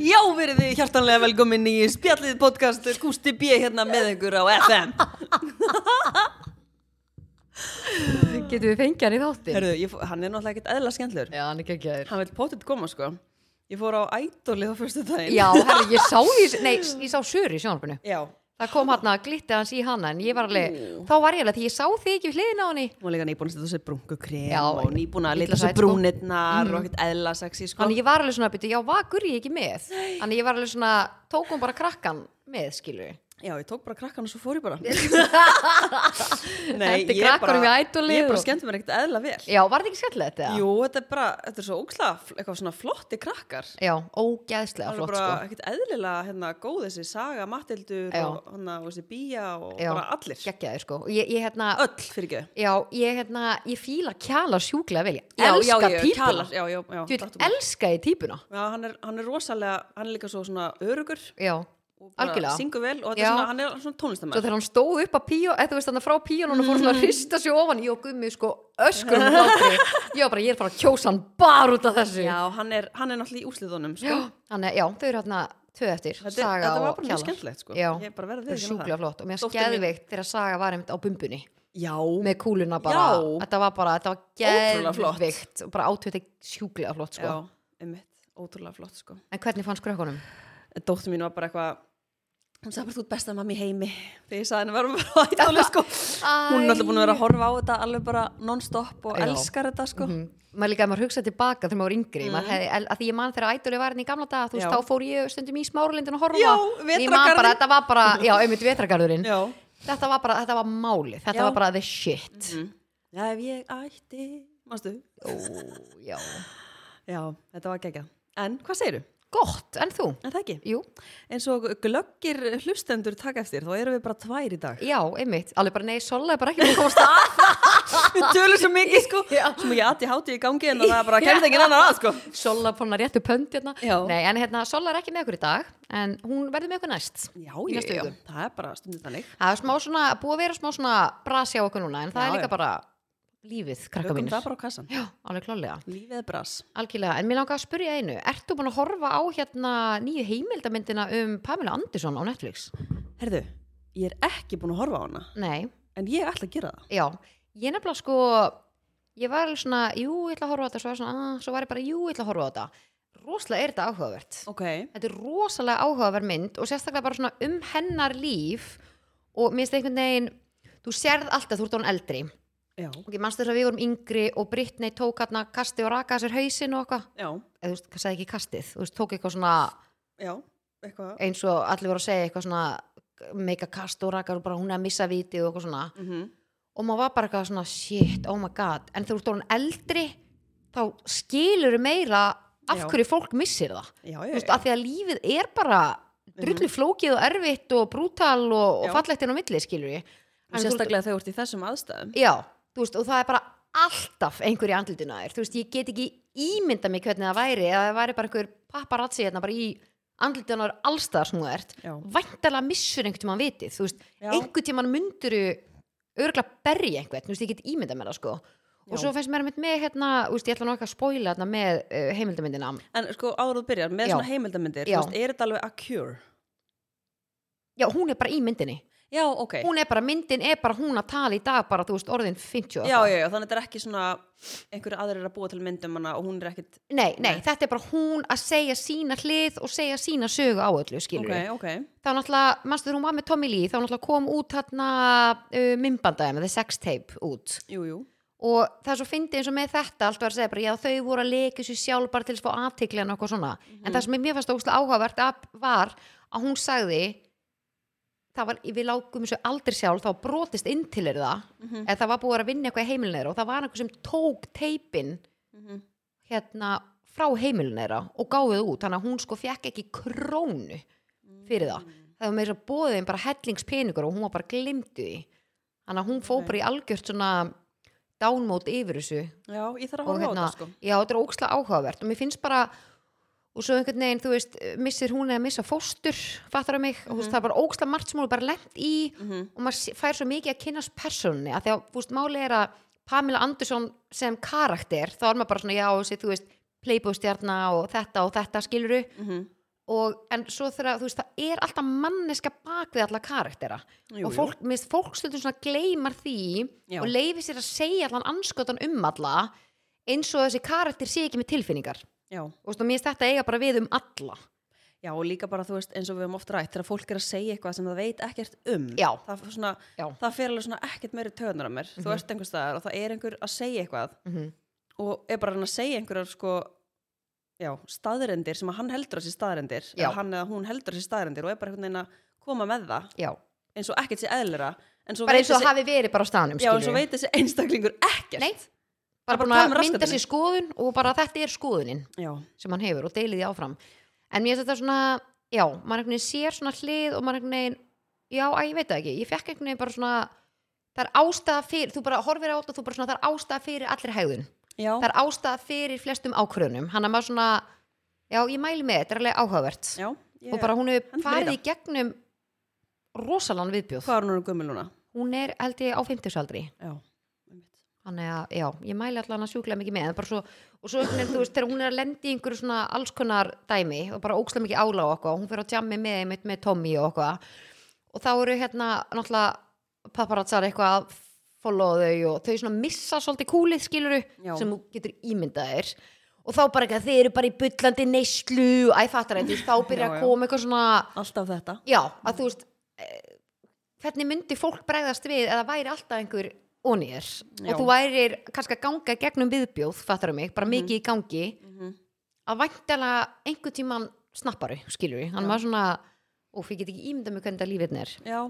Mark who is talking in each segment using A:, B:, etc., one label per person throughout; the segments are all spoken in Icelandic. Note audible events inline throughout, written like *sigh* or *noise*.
A: Já, verið þið hjartanlega velkomin í spjallið podcast Gústi B hérna með ykkur á FM
B: Getum við fengið hann í þáttin?
A: Herðu, ég, fó- hann er náttúrulega ekkert eðla skemmtlur
B: Já, hann er geggjaður.
A: Hann vil potið koma sko Ég fór á ædolið á fyrstu daginn
B: Já, herri, ég sá því, nei, ég sá Söru í sjónarbyrnu.
A: Já,
B: Það kom hann að glitta hans í hana, en ég var alveg, þá var ég alveg, því ég sá þig ekki við hliðin á henni.
A: hún var líka nýbúin að setja á sig brunkukrem
B: Já,
A: og nýbúin að
B: illa
A: lita sér
B: sæt, sko.
A: brúnirnar og ekkert eðla sexy sko
B: Þannig ég var alveg svona, byrju, já, vakur ég ekki með? Þannig ég var alveg svona, tók hún bara krakkan með,
A: *laughs*
B: skilur við.
A: Já, ég tók bara krakkan og svo fór ég
B: *laughs*
A: bara
B: Henti
A: ég
B: krökkunum í Idolið
A: ég bara
B: og-
A: skemmti mér ekkert eðla vel
B: Já, var þetta ekki skemmtilegt þetta?
A: Jú, þetta er bara, þetta er svo ókslega, eitthvað svona flotti krakkar
B: Já, ógeðslega
A: Það er
B: flott,
A: bara
B: sko.
A: ekkert eðlilega hérna, góð þessi saga, mattildur
B: Já.
A: og hana, og þessi bía og
B: Já,
A: bara allir.
B: Geggjaður, sko. Og Ég, ég, hérna,
A: Öll fyrir ekki.
B: já, ég, hérna, ég fíla kjalar sjúklega vel. Ég elska
A: já,
B: típuna.
A: Kjalar, já, já, já.
B: Ég
A: láttu
B: vil
A: mig.
B: elska ég típuna.
A: Já, hann er, hann er rosalega, hann er líka svo svona örugur
B: Já,
A: og bara
B: algjörlega.
A: syngur vel og þetta er
B: Já.
A: svona, hann er svona
B: Svo
A: tónlistamæður.
B: Sko, þegar hann stóð upp að píó, eða þú veist hann frá píónun og fór
A: Mm.
B: svona að hrista sig ofan í og gummi sko öskur um hlátri. Ég var bara, ég er bara að kjósa hann bara út af þessu.
A: Já, hann er, hann er náttúrulega í úsliðunum, sko.
B: *gasps* Hann er, já, þau eru hérna tvö eftir,
A: Þetta, er,
B: Saga
A: þetta var
B: og
A: bara mjög
B: Kjallar.
A: skemmtilegt, sko.
B: Já,
A: Ég bara verði
B: Þau eru
A: við
B: sjúklega flott og mér
A: Dóttir mín-
B: skeðveikt þegar Saga var einmitt á bumbunni
A: Já,
B: með kúluna bara.
A: Já.
B: Þetta var bara, þetta var
A: Ótrúlega flott.
B: geðveikt og bara átöðið sjúklega flott sko.
A: já, einmitt, ótrúlega flott, sko.
B: En hvernig fannst krökkunum?
A: Dóttur mín var bara eitthvað, hún sagði bara þú ert besta mamma í heimi þegar ég sagði henni varum bara á ítalið sko
B: *laughs*
A: hún er alltaf búin að vera að horfa á þetta alveg bara non-stop og
B: Já.
A: elskar þetta sko Mhm.
B: Mm. Maður líka, ef maður hugsaði tilbaka þegar maður var yngri mm. maður hefði, að því ég man þegar ædoli var hérna í gamla daga þú veist,
A: Já.
B: þá fór ég stundum í smáralindin að horfa
A: Já,
B: Ég man bara,
A: vetrargarðinn.
B: þetta var bara, já, einmitt vetragarðurinn
A: já.
B: þetta var bara, þetta var málið, þetta
A: Já. Mhm.
B: var bara the shit
A: já, ef ég ætti mástu,
B: Ó, já
A: já, þetta var geggjað en hvað segiru,
B: Gott, en þú?
A: en það ekki
B: Jú,
A: eins og glöggir hlustendur taka eftir þá erum við bara tvær í *laughs* dag
B: já, einmitt, alveg bara nei, Sola er bara ekki búin að komast
A: *laughs*
B: að
A: við tölum svo mikið sko,
B: Já.
A: svo mikið aðti háti í gangi en það er bara kemst engin annar að sko
B: Sola fór hann að réttu pönd hérna
A: Já.
B: Nei, en hérna, Sola er ekki með okkur í dag en hún verður með okkur næst
A: já,
B: Í
A: já,
B: næstu
A: já,
B: viku.
A: það er bara stundir þannig
B: Það er smá svona, búið að vera smá svona brasi á okkur núna en það
A: Já,
B: er líka
A: já.
B: bara lífið, krakka
A: tökum
B: mínir
A: það bara á kassan,
B: Já, alveg klálega
A: lífið er bras
B: Algjörlega, en mér langar að spyrja einu Ert þú búin að horfa á hérna nýju heimildamyndina um Pamela Anderson á Netflix?
A: herðu, ég er ekki búin að horfa á hana
B: Nei,
A: en ég ætla að gera það
B: já Ég nefnilega sko, ég var alveg svona Jú, ég ætla að horfa á þetta, svo var, ég svona, ah, svo var ég bara Jú, ég ætla að horfa á þetta Rosalega er þetta áhugavert
A: ok,
B: Þetta er rosalega áhugaverð mynd og sérstaklega bara svona um hennar líf og minnst einhvern veginn Þú sérð alltaf, þú ert hún eldri
A: já,
B: og ég manstu þess að við vorum yngri og Brittany tók hérna kasti og raka sér hausinn og eitthvað
A: já
B: eða þú veist, sagði ekki kastið, þú veist, tók eitthvað svona
A: Já, eitthvað
B: eins og allir voru að segja eitthvað svona meika kast og rakar og bara hún er að missa viti og eitthvað svona
A: mm
B: og maður var bara eitthvað svona shit, oh my god en þegar þú ert orðin eldri þá skilur meira
A: Já.
B: af
A: Eh.
B: hverju fólk missir það
A: Já,
B: þú
A: já,
B: veist, af því að lífið er bara drullu flókið og erfitt og brútal og, og
A: Mhm. Já.
B: fallegt inn á milli skilur ég
A: já. Sérstaklega þegar þú ert í þessum aðstæðum
B: já, þú veist, og það er bara alltaf einhverju andlutin að þér, þú veist, ég get ekki ímynda mig hvernig það væri eða það væri bara einhver paparazzi hérna bara í andlutin að þér allstaðar sem þú ert
A: Já,
B: væntalega missur einhvern tímann vitið þú veist,
A: Já.
B: einhvern tímann mynduru örgulega berja einhvern, þú veist, ég get ímynda með það sko og
A: Já.
B: svo finnst mér einmitt með hérna, þú veist, ég ætla nú ekki að spoila hérna með uh, heimildamindina
A: En sko áður þú byrjar með
B: Já.
A: svona heimildamyndir þú
B: Já.
A: veist, Er þetta alveg a cure?
B: já, hún er bara í myndinni,
A: Já, ok
B: hún er bara myndin er bara hún að tala í dag bara, þú veist, orðin 50 og
A: Já,
B: eitthvað.
A: já, já, þannig að þetta er ekki svona einhverju aðrir að búa til myndum hana og hún er ekkit
B: nei, nei,
A: Nei.
B: þetta er bara hún að segja sína hlið og segja sína sögu á öllu skilur
A: Ok,
B: okay.
A: ok
B: þá náttúrulega, mannstu þegar hún var með Tommy Lee þá náttúrulega kom út hérna uh, myndbandaði með The Sex Tape út
A: Jú, jú
B: og það er svo fyndið eins og með þetta alltaf var að segja bara, já þau voru að leika sér sjálf bara til þess að fá aðtikli en okkur svona en það sem mér fannst ógustlega áhugavert að, var að hún sagði það var, við lágum þessu aldrei sjálf þá brotist inn til er það
A: Mhm.
B: eða það var búið að vera að vinna eitthvað í heimilinu þeirra og það var einhver sem tók teipin
A: Mhm.
B: hérna frá heimilinu þeirra og gáðið út, þannig að hún sko fekk ekki krónu
A: mhm.
B: fyrir það það var með þess að bóðið þeim um bara hellingspeningur og hún var bara glimtið því þannig að hún fó
A: Nei.
B: bara í algjört svona downmót yfir þessu
A: Já, ég þarf að
B: og
A: horfa á
B: hérna,
A: þetta sko
B: já, þetta er ókslega áhugavert og mér finnst bara og svo einhvern veginn, þú veist, missir hún eða missa fóstur, fattar að mig og þú veist, það er bara ókslega margt sem hún er bara lent í
A: Mhm.
B: og maður sé- fær svo mikið að kynast persónunni að því að, þú veist, máli er að Pamela Andersson sem karakter, þá er maður bara svona, já, þessi, þú veist playboystjarna og þetta og þetta skiluru
A: mhm,
B: og, en svo þegar, þú veist, það er alltaf manneska bak við alla karaktera
A: Jú,
B: og
A: jú.
B: fólk, mér finnst fólk stundum svona gleymar því
A: Já.
B: og leifi sér að segja allan anskotan um alla eins og þessi karakter sé ekki með tilfinningar
A: já,
B: og mér finnst þetta eiga bara við um alla
A: Mm. já og líka bara þú veist eins og við höfum oft rætt þegar fólk er að segja eitthvað sem það veit ekkert um
B: Já.
A: það, svona,
B: Já. Mhm.
A: það fer alveg svona ekkert meiri töðunar á mér þú ert einhvers staðar og það er einhver að segja eitthvað
B: mm
A: og er bara hann að segja einhverjar sko já, staðrendir sem að hann heldur að sé staðrendir
B: Já.
A: eða hann eða hún heldur að sé staðrendir og er bara einhvern veginn að koma með það
B: Já,
A: eins og ekkert sé eðlera en svo
B: bara
A: veit
B: eins og
A: þessi-
B: hafi verið bara á staðnum
A: Já, en
B: skilurðu.
A: svo veit þessi einstaklingur ekkert
B: Nei, bara
A: bara
B: búin
A: tala
B: að
A: um
B: mynda
A: raskatinni.
B: sér skoðun og bara þetta er skoðunin
A: Já,
B: sem hann hefur og deilið því áfram en mér finnst þetta svona, já, maður einhvern veginn sér svona hlið og maður einhvern veginn já, að ég veit það ekki, ég fekk einhvern veginn bara svona það er ástæða fyrir, þú bara horfir á þetta og þú bara svona, það er ástæða fyrir allir hegðun
A: já,
B: það er ástæða fyrir flestum ákvörðunum hann er maður svona, já, ég mæli með þetta er alveg áhugavert
A: já ég,
B: og bara hún hefur
A: hendur mér í
B: farið í gegnum rosalan viðbjóð
A: Hvað er hún orðin gömul núna?
B: hún er, held ég, á 50 aldri
A: Já,
B: þannig að já, ég mæli allan að sjúklega mikið með en bara svo, og svo einhvern veginn, þú veist, þegar hún er að lendi í einhverju svona alls konar dæmi og bara ókslega mikið ála á okkur, hún fyrir að tjammi með einmitt með Tommy og okkur og þá eru hérna náttúrulega paparazzar eitthvað að followa þau og þau svona missa svolítið kúlið skiluru
A: Já.
B: sem þú getur ímyndað þér og þá bara ekki að þið eru bara í bullandi neyslu, æ fattar þetta þá byrja
A: Já,
B: að
A: já.
B: koma eitthvað svona
A: alltaf þetta
B: já, að þú veist eh, hvernig myndi fólk bregðast við eða væri alltaf einhver onýr
A: Já.
B: og þú værir kannski að ganga gegnum viðbjóð, fattar mig, bara mikið í gangi
A: Mhm.
B: að væntalega einhver tíman snapparu, skilur við hann
A: Já.
B: var svona, óf, ég get ekki ímynda mig hvernig það lífið er
A: Já,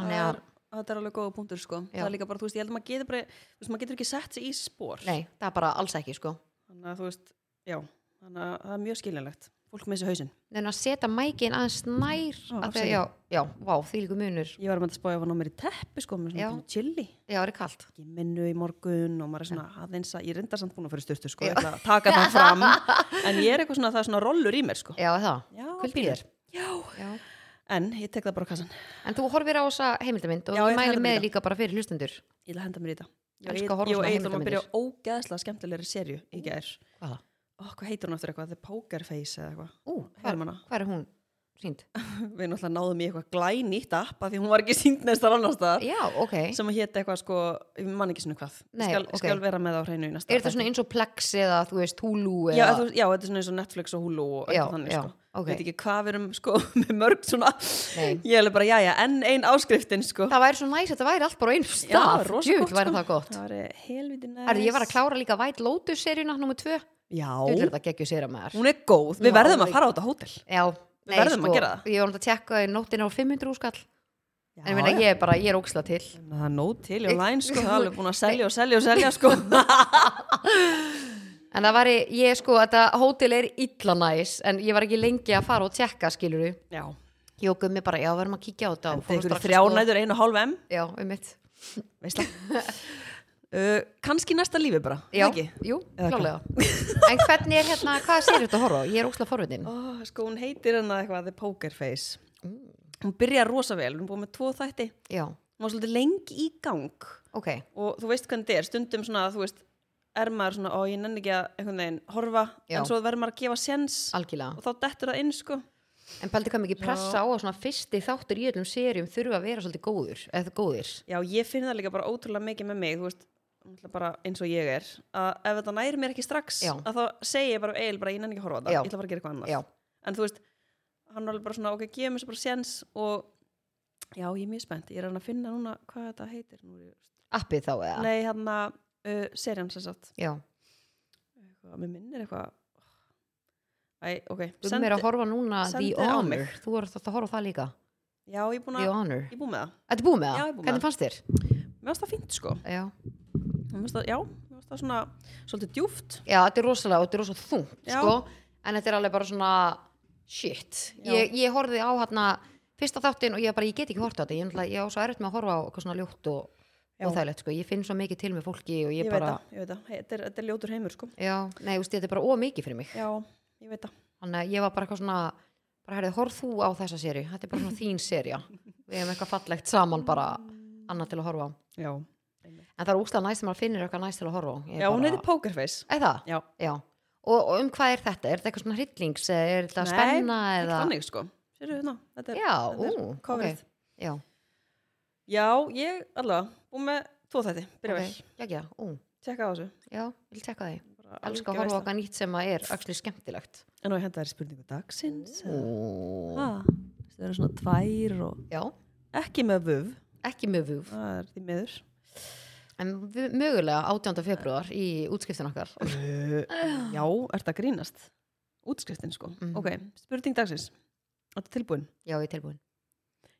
B: hann er
A: það
B: að,
A: er- þetta er alveg góða punktur sko
B: Já.
A: Það er líka bara, þú veist, ég held að maður getur bara þú veist, maður getur ekki sett sig í spór
B: nei, það er bara alls ekki sko
A: Þannig að þú veist, já Þannig að það er mjög skiljanlegt Fólk með þessi hausinn
B: en að setja mækin aðeins nær
A: Ó,
B: að þau,
A: afsakið.
B: já, já, vá, því líku munur
A: Ég var að með þetta spája að ná mér í teppi sko með
B: Já.
A: svona pínu chili
B: já, það er kalt
A: Ekki minnu í morgun og maður er svona aðeins að ég er reyndar samt búin að fyrir styrtu sko
B: Já.
A: ég ætla að taka það
B: *laughs*
A: fram en ég er eitthvað svona það er svona rollur í mér sko
B: já, er það,
A: Já,
B: kuldi
A: pínu.
B: þér
A: Já,
B: já.
A: En ég tek það bara á kassan.
B: en þú horfir á þessa heimildamind og
A: Já,
B: já,
A: ég
B: mæli
A: henda mér í
B: með
A: það.
B: líka bara fyrir hlustendur
A: Ég ætla að henda mér í þetta. Ég
B: Elska að horfa á
A: og
B: svona
A: Eithor að byrja
B: heimildarmyndir.
A: á ógeðslega skemmtilegri serju í gær.
B: hvaða?
A: Oh, hvað heitir hún aftur eitthvað? The Poker Face eða eitthvað.
B: Ú,
A: Heyrum
B: hvað
A: hana.
B: hva er hún
A: *laughs*
B: sínd?
A: Við náttúrulega náðum í eitthvað glænýtt app af því hún var ekki sínd næstar annar stað
B: Já, ok.
A: sem að hétt eitthvað sko, ég man ekki svona hvað. Ég
B: Nei,
A: skal,
B: ok.
A: skal vera með það á hreinu í næsta.
B: Er þetta svona eins og Plex eða þú veist Hulu
A: Já,
B: eða?
A: þú, já, þetta er svona eins og Netflix og Hulu og
B: Já,
A: eitthvað þannig
B: já,
A: sko.
B: ok.
A: Veit ekki hvað við erum sko *laughs* með mörg svona.
B: Nei.
A: Ég er alveg bara, já, já, enn ein áskriftin sko.
B: Það væri svo næs að það væri allt bara á einum
A: Já,
B: stað.
A: rosa
B: Djöfull
A: gott,
B: væri
A: sko.
B: það gott.
A: Það er helviti næst.
B: Herðu, ég var að klára líka White Lotus seríuna nummer 2. Þú
A: Já,
B: vil þetta geggjur sér að maður.
A: hún er góð. Við
B: Já,
A: verðum
B: hún
A: að
B: er-
A: fara á þetta hótel.
B: Já.
A: Við verðum að gera það.
B: Ég var um að tjekka í nóttina á 500 skall.
A: Já,
B: En ég meina, ég er bara, ég er óksla til.
A: Það er nót til í
B: Ég-
A: online sko, það er alveg búin að selja og selja og selja sko.
B: *laughs* En það væri, ég sko, þetta hótel er illa næs, en ég var ekki lengi að fara og tjekka, skilur þú.
A: Já,
B: Ég og gummi bara, já, verðum að kíkja á þetta. og
A: þetta
B: fórum
A: er einhverju
B: strax sko. að
A: þrjá
B: skoða.
A: nætur, einu og hálf M,
B: Já, um
A: veist það.
B: *laughs*
A: Uh, Kanski næsta lífi bara,
B: Já,
A: ekki?
B: jú,
A: Eða
B: klálega En hvernig er hérna, hvað sér þetta að horfa? á? Ég er óslega forvitin
A: Ó, sko, hún heitir hennar eitthvað The Poker Face.
B: Mm.
A: Hún byrjar rosa vel, hún er búin með tvo þætti.
B: Já,
A: Hún var svolítið lengi í gang
B: ok,
A: og þú veist hvernig þetta er, stundum svona, þú veist, er maður svona, ó, ég nenni ekki að einhvern veginn horfa,
B: Já.
A: en svo verður maður að gefa sens og
B: algjörlega
A: þá dettur það inn, sko.
B: En pældi hvað mikið pressa á að svona fyrsti þáttur í öllum serjum þurfa að vera svolítið góður eða góðir
A: Já, ég finn það líka bara ótrúlega mikið með mig, þú veist, náttúrulega bara eins og ég er, að ef þetta næri mér ekki strax,
B: Já.
A: að þá segi ég bara eil, bara ég nenni ekki að horfa á þetta,
B: Já.
A: ég ætla bara að gera eitthvað annað.
B: Já,
A: En þú veist, hann er alveg bara svona, ok, gefum þessu bara séns og, já, ég er mjög spennt, ég er að reyna að finna núna hvað þetta heitir. Nú, ég,
B: appið þá eða
A: Nei, hann að, uh, serjan sem sagt,
B: Já,
A: eitthvað, mér minnir eitthvað, æ, ok,
B: um er að horfa núna The
A: sendi á mig.
B: Honor Þú voru þetta að horfa á það líka
A: já, ég er búin
B: The
A: að,
B: Honor
A: ég er búin með það,
B: Þetta búið með
A: Já,
B: það?
A: ég er búin með
B: Hvernig fannst þér?
A: mér varst það fínt, sko,
B: Já,
A: mér varst það, já, mér varst það svona, svolítið djúft,
B: Já þetta er rosalega og þetta er rosalega þungt
A: Já.
B: sko. En þetta er alveg bara svona shit
A: Já.
B: ég, ég horfði á hérna fyrsta þáttin og ég bara, ég get ekki hort á þetta ég, náttúrulega- ég á svo erfitt með að horfa á eitthvað svona ljótt og,
A: Já.
B: og þægilegt, sko. ég finn svo mikið til með fólki og ég,
A: ég,
B: bara,
A: veit það, ég veit það, Hey, þetta er, þetta er ljótur heimur, sko.
B: já, nei, þú veist, þetta er bara ómikið fyrir mig,
A: Já, ég veit það.
B: þannig að ég var bara eitthvað svona bara herrið, horf þú á þessa séri þetta er bara svona þín serja við hefum eitthvað fallegt saman bara annað til að horfa á
A: Já.
B: en það er úslega næst sem maður finnir eitthvað næst til að horfa á Ég
A: Já, hún
B: bara-
A: heiti Pokerface.
B: Er það?
A: Já.
B: Já. og, og um hvað er þetta? Er þetta eitthvað svona hryllings eða er þetta spenna
A: ekki
B: eða
A: þannig sko Sérðu, ná, þetta er,
B: Já,
A: þetta er
B: ú,
A: coverið
B: ok. Já,
A: Já, ég allavega, búið með tvo þætti, byrja
B: ok,
A: vel,
B: já, já, ú,
A: tjekka á þessu
B: já, ég vil tekka því
A: Bara
B: Elskar
A: algjör
B: að horfa
A: veisla.
B: okkar nýtt sem að er actually skemmtilegt
A: En nú henda þér spurningu dagsins eða?
B: Ó.
A: Ha, Það eru svona tvær og
B: Já,
A: ekki með vöf
B: ekki mjög vúf
A: Það er því miður
B: En við- mögulega 18. februar í útskiptin okkar
A: Já, er það grínast Útskriftin sko
B: Mhm.
A: Ok, spurning dagsins Þetta tilbúin
B: Já, ég er tilbúin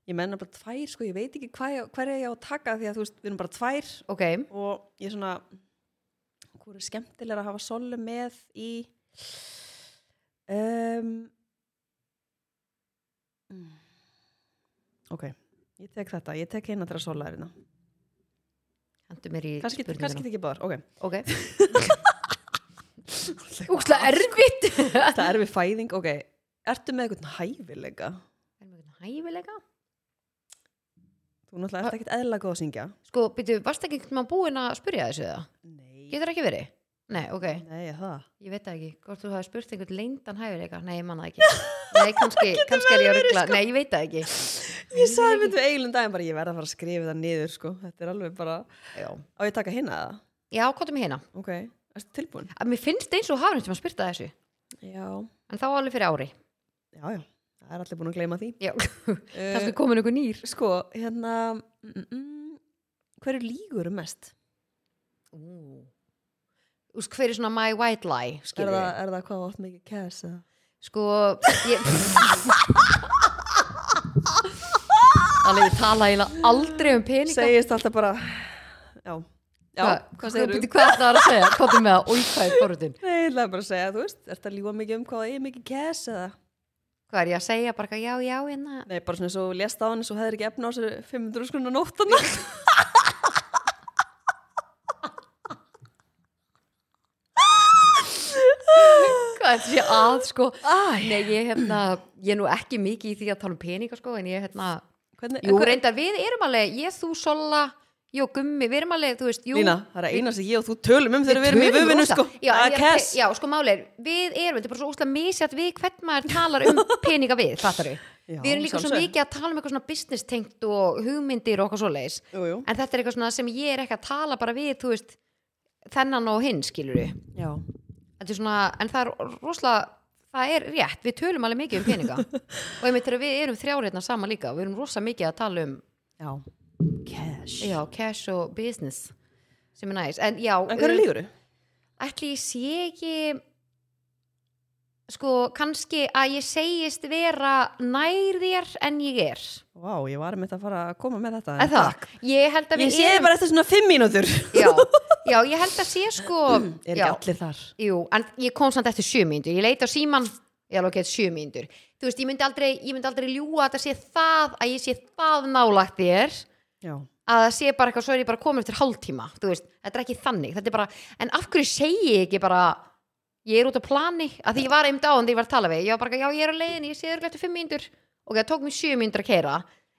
A: Ég menna bara tvær sko, ég veit ekki hvað, hver er ég á að taka því að þú veist, við erum bara tvær
B: Ok,
A: og ég svona hvað er skemmtilega að hafa solu með í um, mm. ok ég tek þetta, ég tek hérna til að sola þérna
B: hendur mér í
A: kannski, kannski
B: spurninguna
A: þið ekki báðar, ok
B: Ok Úkslega erfitt *laughs*
A: það er við fæðing, ok ertu með eitthvað hæfilega
B: Hæfilega
A: þú náttúrulega ert ekkert eðla góð að syngja
B: Sko, býtu, varst ekki einhvern veginn búin að spyrja þessu það?
A: nei,
B: Getur ekki verið? Nei, ok,
A: nei það
B: ég veit það ekki Hvort þú hafi spurt einhvern leyndan hæfileika? Nei, ég manna ekki
A: *laughs*
B: Nei, kannski, kannski er ég að ruggla Nei, ég veit það ekki
A: sko. ég sagði með þú eiginlega um daginn bara ég verð að fara að skrifa það niður sko, þetta er alveg bara
B: Já,
A: á ég að taka hérna það,
B: Já hvað er mér hérna?
A: ok, ertu tilbúin
B: Að Mér finnst eins og hafnum sem að spyrta þessu
A: já,
B: En þá alveg fyrir ári
A: já, já, það er allir búin að gleyma því
B: Já, *laughs* kannski
A: uh,
B: komin einhver nýr
A: sko, hérna mm, mm, hverju lígur mest?
B: Ú. Þú veist, hver er svona my white lie,
A: Er
B: skilur
A: það,
B: við?
A: er það hvað oft mikið kæs? eða?
B: Sko, ég... Alveg, ég tala eiginlega aldrei um peninga.
A: segist alltaf bara já, já,
B: Hva-
A: hvað segir þú?
B: bíddu, Hvað það er að segja? Hvað er með það? Új, hvað er borðin?
A: Nei, ég ætlaði bara að segja, þú veist, er það líga mikið um hvað það er mikið kæs eða?
B: Hvað er ég að segja? Bara eitthvað, já, já, hérna.
A: Nei, bara svona svo lést á hann svo hefðir ekki efna á sér 500 skruna
B: *laughs*
A: nóttana
B: Hvað er þessi að, sko? Nei, ég, hérna, ég er nú ekki mikið í því að tala um peninga, sko, en ég, hérna...
A: Hvernig,
B: Jú,
A: hvað-
B: reyndar, við erum alveg, ég, þú, Sola, jú, Gummi, við erum alveg, þú veist, jú...
A: Lína, það er að eina sem ég og þú tölum um þegar við erum í
B: Tölum
A: vöfinu
B: rosa.
A: sko
B: já,
A: Það
B: en
A: er
B: ég-
A: kæs.
B: já, sko máli er, við erum, þetta er bara svo óslega misjætt við hvern maður talar
A: *laughs*
B: um peninga við, fattar við
A: Já,
B: við erum líka svo
A: sjálfsögðu.
B: mikið að tala um eitthvað svona business tengt og hugmyndir og okkar svoleiðis
A: Jú, jú.
B: en þetta er eitthvað svona sem ég er ekki að tala bara við, þú veist þennan og hinn, skilur við
A: já,
B: þetta er svona, en það er rosalega það er rétt, við tölum alveg mikið um peninga
A: *laughs*
B: og ég meintir að við erum þrjáriðna saman líka við erum rosa mikið að tala um
A: já Cash
B: já, cash og business sem er næs, en já
A: En hverju
B: auðvitað-
A: lígur
B: ætli ég sé ekki sko kannski að ég segist vera nær þér en ég er
A: Vá, ég var með að fara að koma með þetta
B: en það, ég held að
A: Ég
B: við
A: sé þið
B: erum
A: bara eftir svona fimm mínútur *laughs*
B: já, já, ég held að sé sko
A: *clears throat* Er ekki
B: já,
A: allir þar
B: jú, en ég kom samt eftir sjö mínútur ég leita á síman, ég alveg get sjö mínútur þú veist, ég myndi aldrei, ég myndi aldrei ljúga að það sé það, að ég sé það nálagt þér
A: Já,
B: að það sé bara eitthvað, svo er ég bara komin eftir hálftíma þú veist, þetta er ekki þannig, þetta er bara en af hverju segi ég ekki bara ég er út á plani, að því ég var einmitt á en því ég var að tala við, ég var bara, já ég er á leiðinni ég sé þér eftir fimm mínútur, ok, það tók mér sjö mínútur að keira,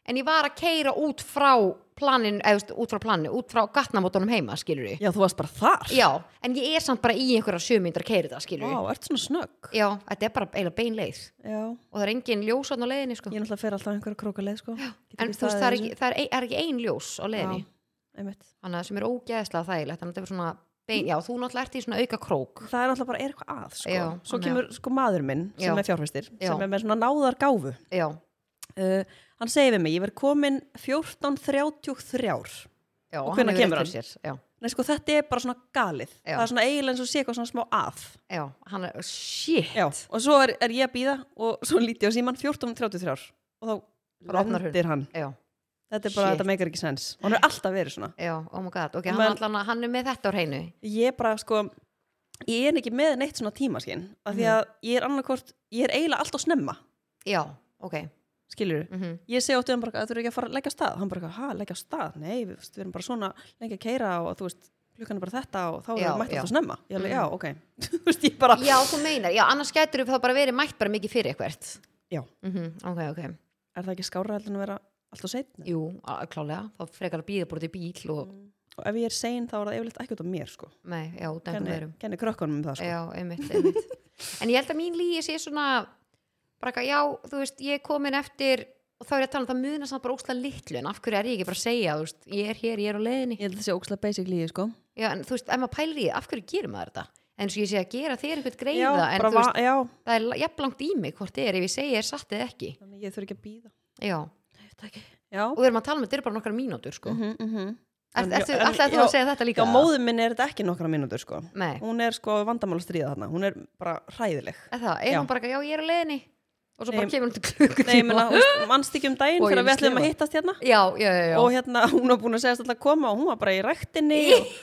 B: en ég var að keira út frá planin, eða þú veist, út frá planinu út frá gatnamótunum heima, skilur við
A: já þú varst bara þar
B: já, en ég er samt bara í einhverja sjö mínútur að keira það, skilur
A: Vá,
B: við
A: ert svona snögg
B: já, þetta er bara eiginlega bein leið
A: Já,
B: og það er engin ljós þarna á leiðinni, sko.
A: ég náttúrulega fer alltaf einhverja krókaleið sko Já,
B: en þú veist, það er ekki- það er ein- er ekki ein ljós á leiðinni
A: einmitt
B: þannig að sem er ógeðslega þægilegt þannig að þetta er svona
A: Mm.
B: bein, já þú náttúrulega ert í svona auka krók
A: Það er náttúrulega bara er eitthvað að sko
B: Já,
A: Svo
B: hann er-
A: kemur sko maður minn sem
B: Já.
A: er fjárfæstir
B: Já.
A: sem er með svona náðar gáfu
B: já,
A: uh, Hann segir við mig, ég verð komin 14.33
B: já
A: Og hvenær
B: hefur
A: kemur
B: rétt fyrir sér. já,
A: Nei sko, þetta er bara svona galið
B: Já.
A: Það er svona eiginlega eins og sé eitthvað svona smá að
B: já, hann er, shit
A: Já, og svo er, er ég að býða og svo líti ég á síman 14.33 og þá
B: Bara opnar hún.
A: lendir hann
B: já,
A: þetta er bara,
B: Shit.
A: þetta meikar ekki sens og hann er alltaf verið svona
B: já, oh my god, ok,
A: Og
B: hann,
A: menn-
B: Men, allan, hann er með þetta á hreinu
A: ég bara sko, ég er ekki með neitt svona tímaskinn af
B: Mhm.
A: því að ég er annarkvort, ég er eiginlega alltaf snemma
B: já, ok
A: skilur
B: mm
A: ég segi áttu hann bara, þú eru ekki að fara að leggja af stað hann bara, eitthvað, ha, leggja af stað, nei, við, veist, við erum bara svona lengi að keira og þú veist klukkan er bara þetta og þá
B: Já,
A: erum mætt
B: já. Mm.
A: alltaf snemma ég alveg, já, ok, *laughs* þú veist, ég bara
B: já, þú meinar, já, annars gætur við það bara verið mætt bara mikið fyrir eitthvert
A: Já.
B: mm ok, ok,
A: er það ekki skára heldur en að vera alltaf seitt? Mm.
B: jú, á- klálega þá frekar að býða bara út í bíl og
A: og ef ég er sein þá er það yfirleitt ekki út af mér sko
B: nei, já, út af einhverjum
A: kenni, kenni
B: öðrum
A: krökkunum um það sko
B: Já, einmitt,
A: *laughs*
B: einmitt. en ég held að mín lígi sé svona bara eitthvað, já, þú veist, ég er komin eftir og þá er ég að tala um það muna samt bara ósla litlu en af hverju er ég ekki bara að segja, þú veist, ég er hér, ég er á leiðinni
A: ég held að það sé ókslega basic líði sko
B: já, en þú veist, ef maður pælir í, því, af hverju gerir maður þetta en svo ég sé að gera þér einhvern greiða
A: já,
B: en
A: bara
B: þú veist,
A: va- já,
B: það er la- jafnlangt í mig hvort þið er, ef ég segi ég er satt eða ekki
A: þannig að ég þurfi ekki að býða
B: já, og
A: já,
B: við erum að tala um þetta eru bara nokkar mínútur, sko
A: mhm, mhm En-
B: Ert- ertu-
A: en-
B: ætlaðir þú
A: já,
B: að segja þetta
A: já,
B: líka?
A: móðu minn er þetta ekki nokkra mínútur sko
B: Nei,
A: hún er sko vandamál að stríða þarna hún er bara hræðileg
B: er það, er
A: Já.
B: hún bara eitthvað, já, ég er á leiðinni og svo bara
A: Nei,
B: kemur hún til klukkutíma
A: Nei, menna, mannst ekki um daginn
B: Og ég
A: fyrir að við
B: vil
A: ætlum að
B: skrifa.
A: hittast hérna
B: já, já, já, já.
A: og hérna, *laughs* hún var búin að segja alltaf að koma og hún var bara í rektinni og,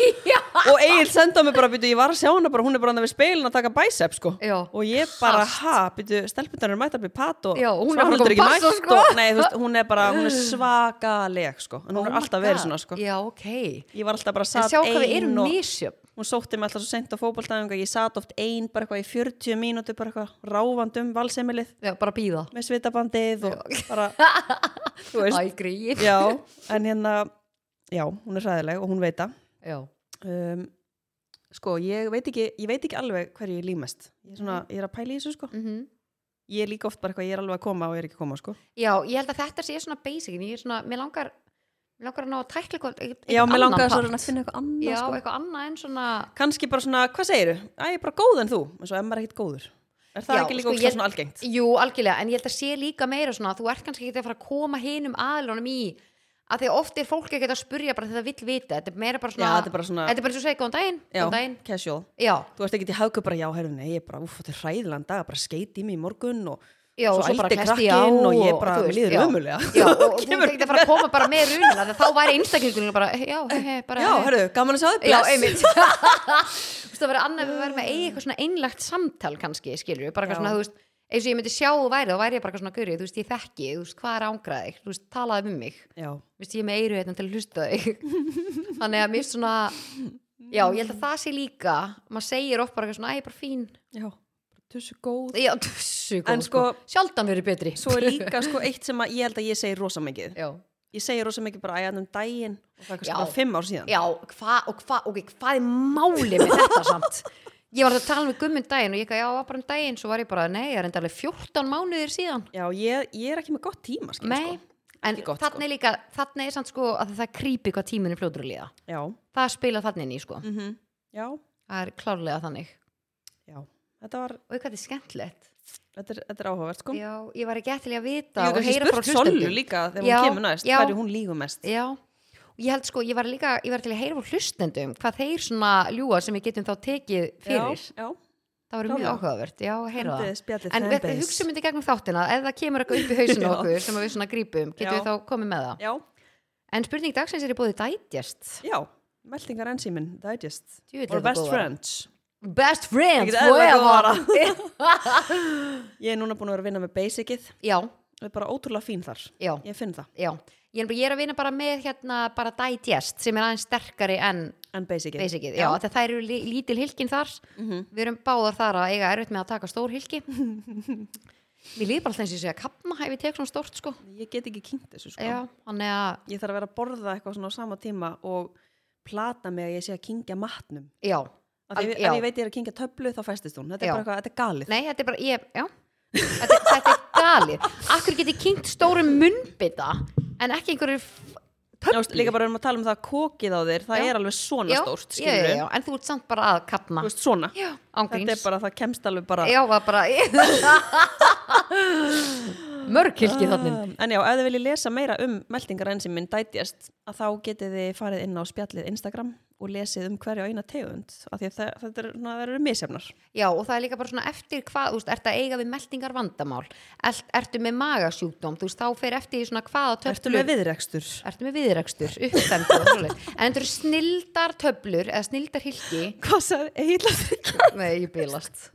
A: og Egil senda mig bara, býtu, ég var að sjá hana bara, hún er bara hann við speilin að taka bicep sko
B: Já.
A: og ég bara, ha, býtu, stelpundan eru mættar með pat og
B: Já, og hún er
A: Svanhildur
B: bara
A: mætt
B: komin pass og sko.
A: nei, þú veist, hún er bara, hún er
B: *laughs*
A: svakaleg sko, en hún
B: Oh
A: er
B: my
A: alltaf
B: God.
A: verið svona sko
B: já, ok
A: ég var alltaf bara
B: en
A: satt
B: sjá hvað við erum
A: ein og
B: misjöfn
A: hún sótti mig alltaf svo sent á fótboltaðinga ég satt oft ein, bara eitthvað í 40 mínútu bara eitthvað ráfand um valsemilið
B: já, bara býða
A: með svitabandið og
B: *laughs*
A: bara, þú veist
B: Æ, grín
A: já, en hérna já, hún er hræðileg og hún veit það
B: já,
A: um, sko, ég veit ekki ég veit ekki alveg hverju ég límast ég er, svona,
B: Mm.
A: ég er að pæla í þessu sko
B: Mhm.
A: ég er líka oft bara eitthvað, ég er alveg að koma og ég er ekki að koma sko
B: já, ég held að þetta sé svona basic en ég er svona, mér langar mér langar að ná að tækla eitthvað eitthvað
A: já, mér
B: annan
A: langaði svo að
B: part.
A: reyna að finna eitthvað annað
B: já,
A: sko.
B: eitthvað annað en svona
A: kannski bara svona, hvað segiru? Æ, ég er bara góð en þú en svo er maður ekkit góður er það
B: Já,
A: ekki líka
B: sko,
A: sko,
B: ég-
A: svona algengt?
B: jú, algjörlega, en ég held að sé líka meira svona að þú ert kannski ekki að fara að koma hinum aðlunum í að því að oft er fólk ekki að spurja bara þegar það vill vita, þetta er meira bara svona
A: Já, þetta er bara svona-
B: þetta er bara eins og segja góðan daginn,
A: Já,
B: góðan daginn
A: casual
B: já,
A: Þú ert ekki til hagku bara, já, herru, nei, ég er bara, úf, þetta er hræðilan dag, bara skeiti í mig í morgun og
B: Já, og svo bara
A: ældi
B: klessti ég á
A: krakkinn og ég
B: og-
A: bara,
B: þú
A: mér
B: veist,
A: líður
B: já.
A: ömulega.
B: Já,
A: *laughs*
B: og þú
A: Kemur
B: ert ekki að fara að koma bara með rununa þegar þá væri einstaklingunum bara, já, he, he, bara
A: Eh, Já,
B: he.
A: herru, gaman að sjá þig,
B: já,
A: bless.
B: einmitt *laughs* Þú veist, það verður annað við verðum að eiga eitthvað svona einlagt samtal kannski, skilur við, bara
A: Já.
B: eitthvað svona, þú veist eins og ég myndi sjá þú væri, þá væri ég bara eitthvað svona gaurið, þú veist, ég þekki, þú veist, hvað er ángraðið þú veist, talaði um mig,
A: Já,
B: þú veist, ég er með eiru hérna til að hlusta
A: *laughs*
B: á þig þannig að mér svona já, ég held að það sé líka maður segir oft bara eitthvað svona, æ, ég er bara fín
A: já, tussu góð.
B: já, *laughs* þessu,
A: En sko-
B: sjaldan verið betri
A: Svo er líka, sko, eitt sem að ég held að ég segi rosa mikið.
B: já.
A: Ég segi rosa mikið bara, æ, þannig um daginn og það er kannski
B: Já.
A: bara fimm ár síðan.
B: Já, hva, og hva, ok, hvað er málið með þetta
A: *laughs*
B: samt? Ég var að tala með gummund daginn og ég ekki, já, var bara um daginn, svo var ég bara, nei, ég er enda alveg 14 mánuðir síðan.
A: Já, ég, ég er ekki með gott tíma, skil,
B: Nei,
A: sko.
B: en
A: Ekki gott,
B: þarna er líka, þarna er samt sko að það krýpi hvað tíminn er fljótur að líða.
A: Já,
B: Það spila þarna inn í, sko.
A: mm já,
B: Það er klárlega þannig.
A: já, þetta var,
B: Og hvað þetta er skemmtilegt.
A: þetta er, þetta er áhugavert, sko.
B: Já, ég var ekki eftir að vita
A: Ég
B: og
A: hef
B: heyra
A: spurt
B: frá
A: Sollu
B: hlustendum.
A: líka þegar
B: Já,
A: hún kemur næst,
B: já.
A: hverju hún lígur mest.
B: Já, og ég held sko, ég var líka, ég var til að heyra frá hlustendum hvað þeir svona ljúa sem við getum þá tekið fyrir.
A: Já, já.
B: Það var mjög
A: klárlega.
B: áhugavert, já, að heyra það.
A: Hendið spjallið
B: En við
A: fanbase.
B: hugsaum þetta í gegnum þáttina ef það kemur eitthvað upp í hausinu
A: *laughs* Já.
B: okkur sem við svona grípum, getum
A: Já.
B: við þá komið með það
A: Já,
B: En spurning dagsins er í bóði dætjast
A: já, meldingar ensýmin, digest.
B: Djöfull
A: Or
B: er það
A: best
B: góðara.
A: friends.
B: Best friends,
A: Ekkert eðlilega
B: forever
A: Ég er núna búin að vera að vinna með basicið.
B: *laughs* Já,
A: Það er bara ótrúlega fín þar.
B: já,
A: Ég finn það.
B: já Ég er, bara, ég er að vinna bara með hérna bara digest sem er aðeins sterkari en
A: En basicið.
B: basicið, já, þegar það eru lí- lítil hilkin þar
A: Mhm.
B: við erum báðar þar að eiga erfitt með að taka stór
A: *laughs*
B: hilki Mér líður bara alltaf eins og ég sé að kapna ef ég tek svona stórt sko,
A: Ég get ekki kynnt þessu sko.
B: Já, þannig að,
A: Ég þarf að vera að borða eitthvað svona á sama tíma og plata mig að ég sé að kynkja matnum.
B: já
A: Af því
B: Al-
A: Ef,
B: já.
A: ef ég veit ég er að kynkja töflu þá festist hún. Þetta er
B: Já.
A: bara eitthvað, þetta er galið.
B: Nei, þetta er bara, ég, já Þetta, þetta er galið Akkur geti kynnt stórum munnbytta En ekki einhverju f-
A: Já, veist, líka bara við erum að tala um það að kokið á þér, það
B: Já.
A: er alveg svona
B: já,
A: stórt,
B: já,
A: skilur
B: já, já, En þú ert samt bara að kapna
A: Þú veist, svona. Þetta
B: Já,
A: er
B: ángríns
A: bara, það kemst alveg bara
B: Já, var bara *laughs* Mörg hilki þannig
A: Um, En já, ef þið viljið lesa meira um meldingar enn sem minn dætjast að þá getið þið farið inn á spjallið Instagram og lesið um hverja eina tegund af því að það, þetta er, svona, það eru misjafnar
B: Já, og það er líka bara svona eftir hvað, þú veist, ertu að eiga við meldingar vandamál Ert, Ertu með magasjúkdóm, þú veist, þá fer eftir því svona hvaða töflu
A: Ertu með viðrekstur?
B: Ertu með viðrekstur, uppstendur og svoleiðis. En þetta eru snildar töflur eða snildar hilki
A: Hvað sagði Egil að því?
B: Nei, ég bílast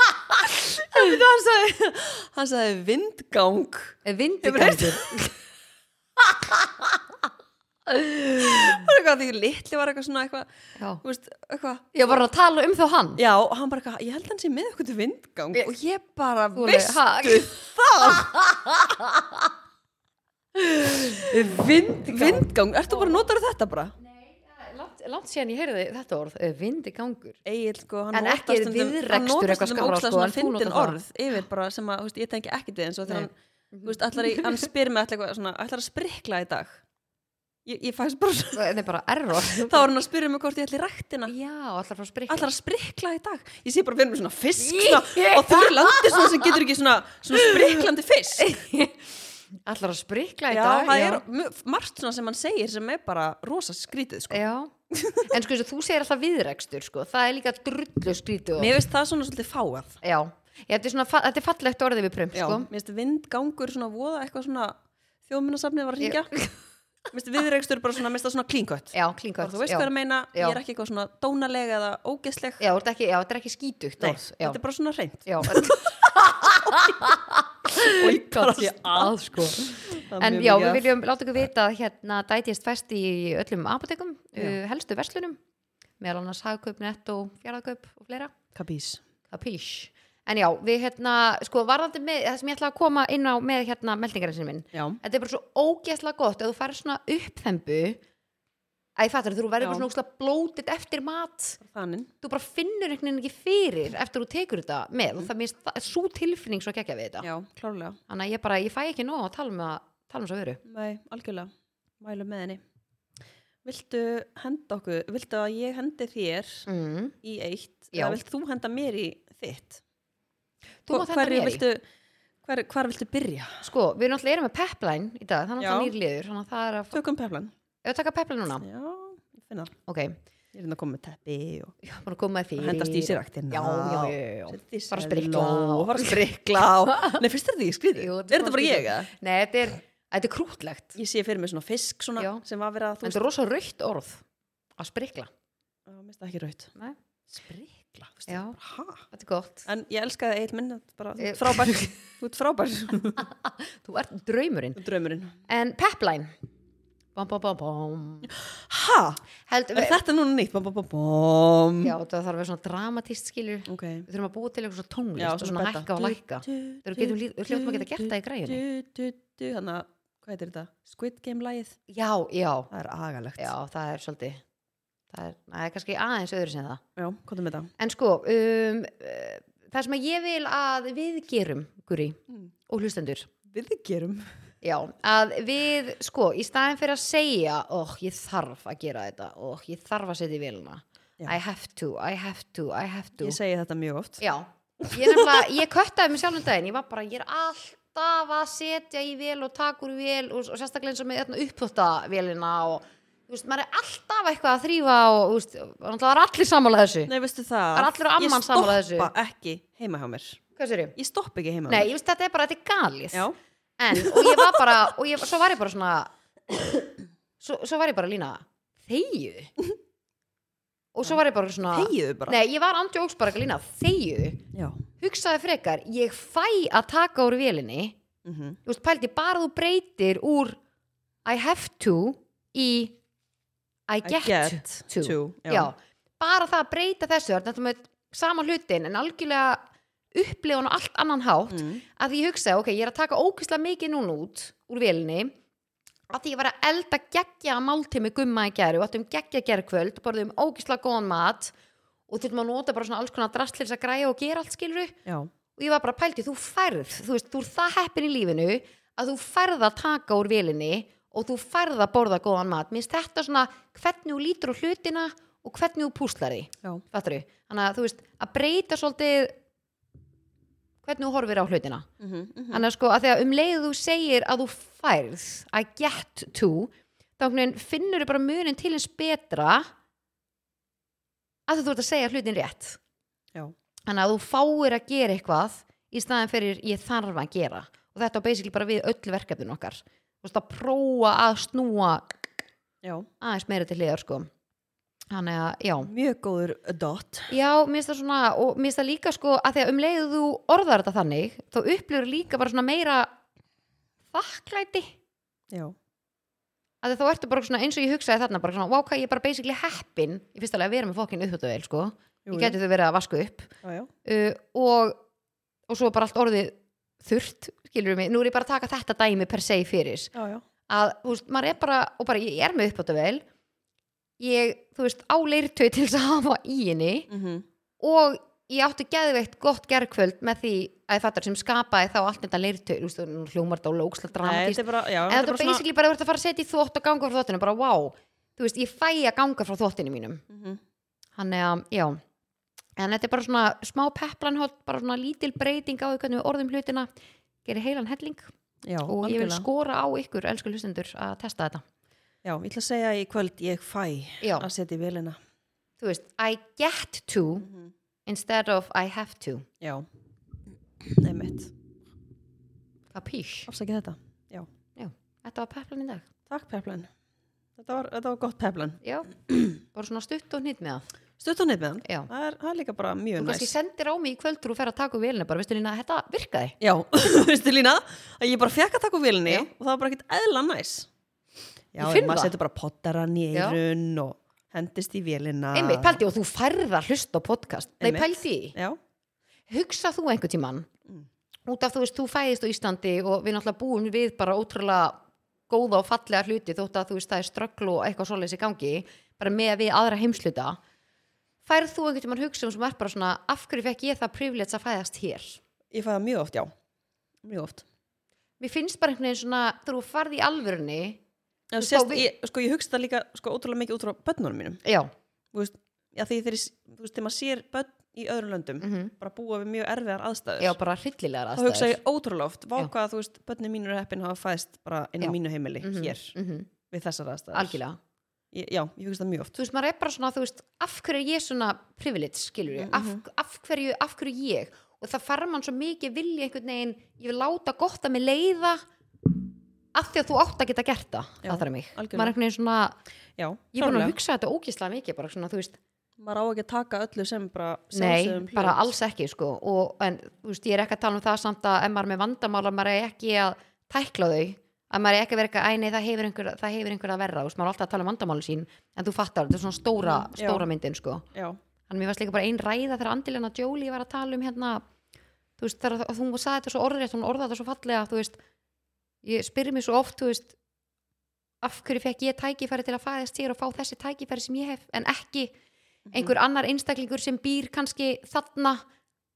A: hann sagði, hann sagði vindgang
B: Vindigangur
A: Það var eitthvað því litli var eitthvað svona eitthvað,
B: Já.
A: þú veist, eitthvað
B: Ég var að tala um þá hann
A: Já, og hann bara, eitthvað, ég held að hann sé með eitthvað til vindgang
B: Ég-
A: og ég bara,
B: Þú alveg,
A: veistu
B: ha?
A: það? Vindgang, Vindgang. ertu bara notar þetta bara?
B: langt, langt síðan ég heyrði þetta orð eh, vindigangur
A: Egil, sko, hann
B: En
A: notast
B: ekki
A: stundum-
B: viðrekstur
A: hann notast
B: eitthvað
A: stundum
B: skárra,
A: ógeðslega
B: sko,
A: svona
B: en þú notar
A: fyndin
B: það.
A: orð yfir bara sem að, þú veist, ég tengi ekki við eins og þegar
B: Nei.
A: hann, þú veist, allar í, hann spyr mig allar eitthvað svona, allar að sprikla í dag ég, ég fæst bara svona
B: það er bara error
A: *laughs* þá var hann að spyrja mig hvort ég ætli í ræktina
B: já, allar frá sprikla
A: allar að sprikla í dag ég sé bara fyrir mig svona fisk
B: Í-
A: svona, og þú er landið svona sem getur ekki svona, svona spriklandi fisk
B: allar frá sprikla í
A: já,
B: dag
A: það er mjög- margt svona sem hann segir sem er bara rosa skrítið sko.
B: já. en sko eins og þú segir alltaf viðrekstur sko. það er líka drullu skrítið
A: mér finnst það svona svolítið fáað
B: já, ég, þetta, er svona, fa- þetta er fallegt orðið við prum
A: já,
B: sko.
A: mér finnst vindgangur svona voða eitthvað svona þjóðminnasafnið var að ringja *laughs* mér finnst viðreikstur bara svona, mér finnst það svona klínkött
B: já, klingað
A: þú veist hvað ég meina,
B: Já.
A: ég er ekki eitthvað svona dónaleg eða ógeðsleg
B: já, þetta er ekki, já, þetta er ekki skítugt
A: Nei,
B: orð já,
A: þetta er bara svona
B: *laughs*
A: reynd
B: já
A: og ég
B: gat ég að sko En já, við viljum láta ykkur vita að hérna dætist fest í öllum apotekum, uh, helstu verslunum, meðal annars hagkaup, netto, fjaraðkaup og fleira.
A: kapís
B: Kapísh. En já, við hérna, sko, varðandi með, það sem ég ætla að koma inn á með hérna meldingarinsin minn,
A: já,
B: þetta er bara svo ógeðslega gott ef þú færir svona uppþembu, að ég fattur, þú verður
A: Já.
B: bara svona ógeðslega blótið eftir mat,
A: þannig
B: þú bara finnur einhvern veginn ekki fyrir eftir þú tekur þetta með og það, mér finnst það er svo tilfinning svo gekkja við þetta.
A: Mm. já, klárlega
B: Þannig að ég bara, ég fæ ekki nóg að tala um það, tala um svo veru.
A: Nei, algjörlega, mælu með henni Viltu henda okkur Viltu að ég hendi þér
B: Mm.
A: í eitt
B: Já.
A: eða vilt þú henda mér í þitt
B: Þú mátt henda
A: Hverju
B: mér í.
A: viltu, hver, hvar viltu byrja?
B: Sko, við náttúrulega erum með pepline í dag, þannig að það
A: Já.
B: nýr liður, þannig að það er að...
A: Tökum peflan
B: Ef við taka pepline núna?
A: Já, ég finna það
B: Ok,
A: Ég er hérna að koma með teppi og
B: já, bara að koma með því.
A: og hendast í sér aktina
B: Já, já, já, já, já.
A: Setja í
B: Bara
A: selló
B: sprikla
A: og
B: og-
A: Bara sprikla og...
B: *laughs*
A: Nei, finnst þér þetta ekki skrítið?
B: Jú,
A: Er þetta bara
B: skrítið.
A: ég? eða?
B: Nei, þetta er, þetta er krútlegt.
A: Ég sé fyrir mig svona fisk svona
B: Já.
A: sem var verið að þú
B: Þetta er rosa raukt orð að sprikla.
A: Já, mér finnst það ekki raut
B: Nei.
A: Sprikla, finnst
B: Já.
A: þér bara, ha?
B: Þetta er gott.
A: En ég elska það eitt minn, þetta er bara, þú
B: Ég-
A: ert frábær,
B: *laughs*
A: þú ert frábær,
B: Þú ert draumurinn.
A: draumurinn.
B: En pepline. Bom, bom, bom, bom.
A: Ha?
B: Held,
A: Er þetta núna nýtt? Bom, bom, bom, bom.
B: Já, það þarf að vera svona dramatist skilur.
A: Ok.
B: Við þurfum að búa til eitthvað svona tónlist
A: Já,
B: og svona
A: betta.
B: hækka og lækka. Þegar við getum lí- við hljótum að geta gert það í græjunni.
A: Du, du, du, þannig að, hvað heitir þetta? Squid Game lagið?
B: Já, já,
A: Það er agalegt.
B: já, það er svolítið. Það er, það er kannski aðeins öðru sem það.
A: Já, hvað er með það?
B: En sko, um, uh, það sem að ég vil að við gerum, Guri,
A: Mm.
B: og hlustendur,
A: Við gerum.
B: já, að við, sko, í staðin fyrir að segja, óh, ég þarf að gera þetta, óh, ég þarf að setja í vilna,
A: Já.
B: I have to, I have to, I have to.
A: Ég segi þetta mjög oft.
B: Já, ég nefnilega, ég köttaði mig sjálfum daginn, ég var bara, ég er alltaf að setja í vel og taka úr vel og, og sérstaklega eins og með uppþótta velina og, þú veist, maður er alltaf eitthvað að þrýfa og, þú veist, og náttúrulega er allir sammála þessu.
A: Nei, veistu það?
B: Það er allur amman sammála þessu.
A: Ég stoppa ekki heima hjá mér.
B: Hvað sér ég?
A: Ég stoppa ekki heima hjá
B: Nei,
A: mér.
B: ég veist þetta er bara, þetta er galið
A: Já.
B: en, og ég var bara og ég, svo var ég bara svona svo, svo var ég bara lína þegju og svo var ég bara svona
A: Þegiðu bara.
B: nei, ég var andjóks bara lína þegju
A: Já.
B: hugsaði frekar, ég fæ að taka úr vélinni
A: Mm
B: þú veist, pældi, bara þú breytir úr I have to í I get, to, Já. bara það að breyta þessu þarna ertu með sama hlutin en algjörlega upplifa hann á allt annan hátt
A: Mm.
B: að því ég hugsaði, ok, ég er að taka ókvæslega mikið núna út úr velinni að því ég var að elda geggja máltíð með gumma í gæri og áttum geggja gerkvöld borðum ókvæslega góðan mat og þurftum að nota bara svona alls konar drastlir að græja og gera allt skilru
A: Já.
B: og ég var bara pælti, þú færð þú veist, þú er það heppin í lífinu að þú færð að taka úr velinni og þú færð að borða góðan mat minnst þetta svona hvernig þú lítur á hlutina og hvernig þú púslar því
A: Já.
B: fattar þannig að þú veist, að breyta svolítið hvernig þú horfir á hlutina
A: Mm -hmm.
B: Þannig að sko að þegar um leiðu þú segir að þú færð I get to þá einhvern veginn finnur þú bara munin til eins betra að þú ert að segja hlutin rétt
A: Já.
B: Þannig að þú fáir að gera eitthvað í staðin fyrir ég þarf að gera og þetta á basically bara við öll verkefnin okkar þú veist að prófa að snúa
A: Já.
B: aðeins meira til hliðar sko Þannig að já
A: Mjög góður dot.
B: Já, mér finnst það svona og mér finnst það líka sko að því að um leiðu þú orðar þetta þannig þá upplifur líka bara svona meira þakklæti
A: Já.
B: að þá ertu bara svona eins og ég hugsaði þarna bara svona, wow, hvað ég er bara basically heppin í fyrsta lega að vera með fokkin upptöðuvel sko
A: Jú,
B: ég geti þau verið að vasku upp
A: Já, já.
B: uh, og, og svo bara allt orðið þurrt, skilur mig, nú er ég bara að taka þetta dæmi per se fyrir
A: Já, já.
B: að, þú veist, maður er bara og bara, ég er með uppáttavel ég, þú veist, á leirtöð til þess að hafa í henni
A: mm -hmm.
B: og ég átti geðveitt gott gerkvöld með því að ég fattar sem skapaði þá allt þetta leirtöð, þú veist, nú hljómar þetta og lóksla dramatist,
A: þetta er bara, já,
B: en
A: þetta er
B: þetta er
A: bara svona
B: basically bara að verða að fara að setja í þvott og ganga frá þvottinu, bara wow þú veist, ég fæ að ganga frá þvottinu mínum
A: Mhm.
B: þannig að, já en þetta er bara svona smá peplanhótt bara svona lítil breyting á því hvernig við orðum hlutina gerir heilan helling
A: já,
B: og ég vil
A: algjörlega.
B: skora á ykkur, elsku hlustendur að testa þetta
A: já, ég ætla að segja í kvöld ég fæ
B: já,
A: að setja í velina
B: þú veist, I get to
A: Mhm.
B: instead of I have to
A: já, einmitt
B: Kapís.
A: afsakið þetta, já,
B: þetta var peplan í dag
A: takk Peplan þetta var, þetta var gott Peplan *clears throat*
B: já, bara svona stutt og nýtt með það
A: stutt og neitt með hann,
B: já,
A: það er, það er líka bara mjög
B: þú
A: næs
B: kannski sendir á mig í kvöld og fer að taka úr vélina bara, veistu lína, þetta virkaði
A: já, *laughs* veistu Lína að ég bara fekk að taka úr vélinni
B: Já.
A: og það var bara ekkert eðla næs já,
B: Ég
A: en
B: finn
A: maður
B: það.
A: setur bara pottarann í
B: Já.
A: eirun og hendist í vélina
B: einmitt, pældi og þú færð að hlusta á podcast nei,
A: Ah. Einmitt.
B: pældi, í því.
A: já,
B: hugsa þú einhvern tímann
A: Mm.
B: út af þú veist, þú fæðist á Íslandi og við náttúrulega búum við bara ótrúlega góða og fallega hluti þótt að þú veist það er ströggl og eitthvað svoleiðis í gangi bara með að við aðra heimsluta færð þú einhvern tímann hugsa um sem er bara svona af hverju fekk ég það privilege að fæðast hér
A: ég fæ það mjög oft, já mjög oft
B: mér finnst bara einhvern veginn svona þegar þú farð í alvörunni
A: En
B: Þú
A: sést,
B: fá við-
A: ég, sko, ég hugsa það líka sko, ótrúlega mikið út frá börnunum mínum
B: já,
A: þú veist, já, því þeir, þú veist, þegar maður sér börn í öðrum löndum,
B: mm
A: bara búa við mjög erfiðar aðstæður,
B: já bara hryllilegar
A: þá hugsa
B: aðstæður
A: ég ótrúlega oft,
B: Já.
A: vákvað að þú veist, börnum mínur heppin hafa fæðst bara inn á
B: Já.
A: mínu heimili
B: Mhm,
A: hér,
B: mhm,
A: við þessar aðstæður
B: algjörlega
A: Ég, já, ég hugsa það mjög oft
B: þú veist, maður er bara svona, þú veist, af hverju er ég svona privilege, skilur
A: Mhm,
B: ég, af, af hverju af hverju ég, og það fara mann svo mikið vilja einhvern veginn, ég vil láta gott að mig leiða af því að þú átt að geta gert það,
A: Já,
B: það þarf mig
A: algjörlega.
B: maður er einhvern veginn svona,
A: já,
B: ég er búin að
A: klárlega.
B: hugsa þetta ógislega mikið, bara svona, þú veist,
A: maður á ekki að taka öllu sem bara sjálfsögðum
B: nei,
A: um hlut.
B: bara alls ekki sko, og, en þú veist, ég er ekki að tala um það samt að ef maður er með vandamál, að maður er ekki að tækla þau, að maður er ekki að vera eitthvað, æ, nei, það hefur einhver, það hefur einhver að verra, þú veist, maður er alltaf að tala um vandamáli sín, en þú fattar, þetta er svona stóra,
A: Mhm, já.
B: stóra myndin, sko.
A: já,
B: Þannig mér varst líka bara ein ræða þegar Andilina Jolie var að tala um hérna þú veist, þegar að- að hún saði þetta svo orðrétt hún orðaði þetta svo fallega, þú veist ég spyrir mér svo oft, þú veist af hverju fekk ég tækifæri til að fæðast hér og fá þessi tækifæri sem ég hef en ekki einhver annar einstaklingur sem býr kannski þarna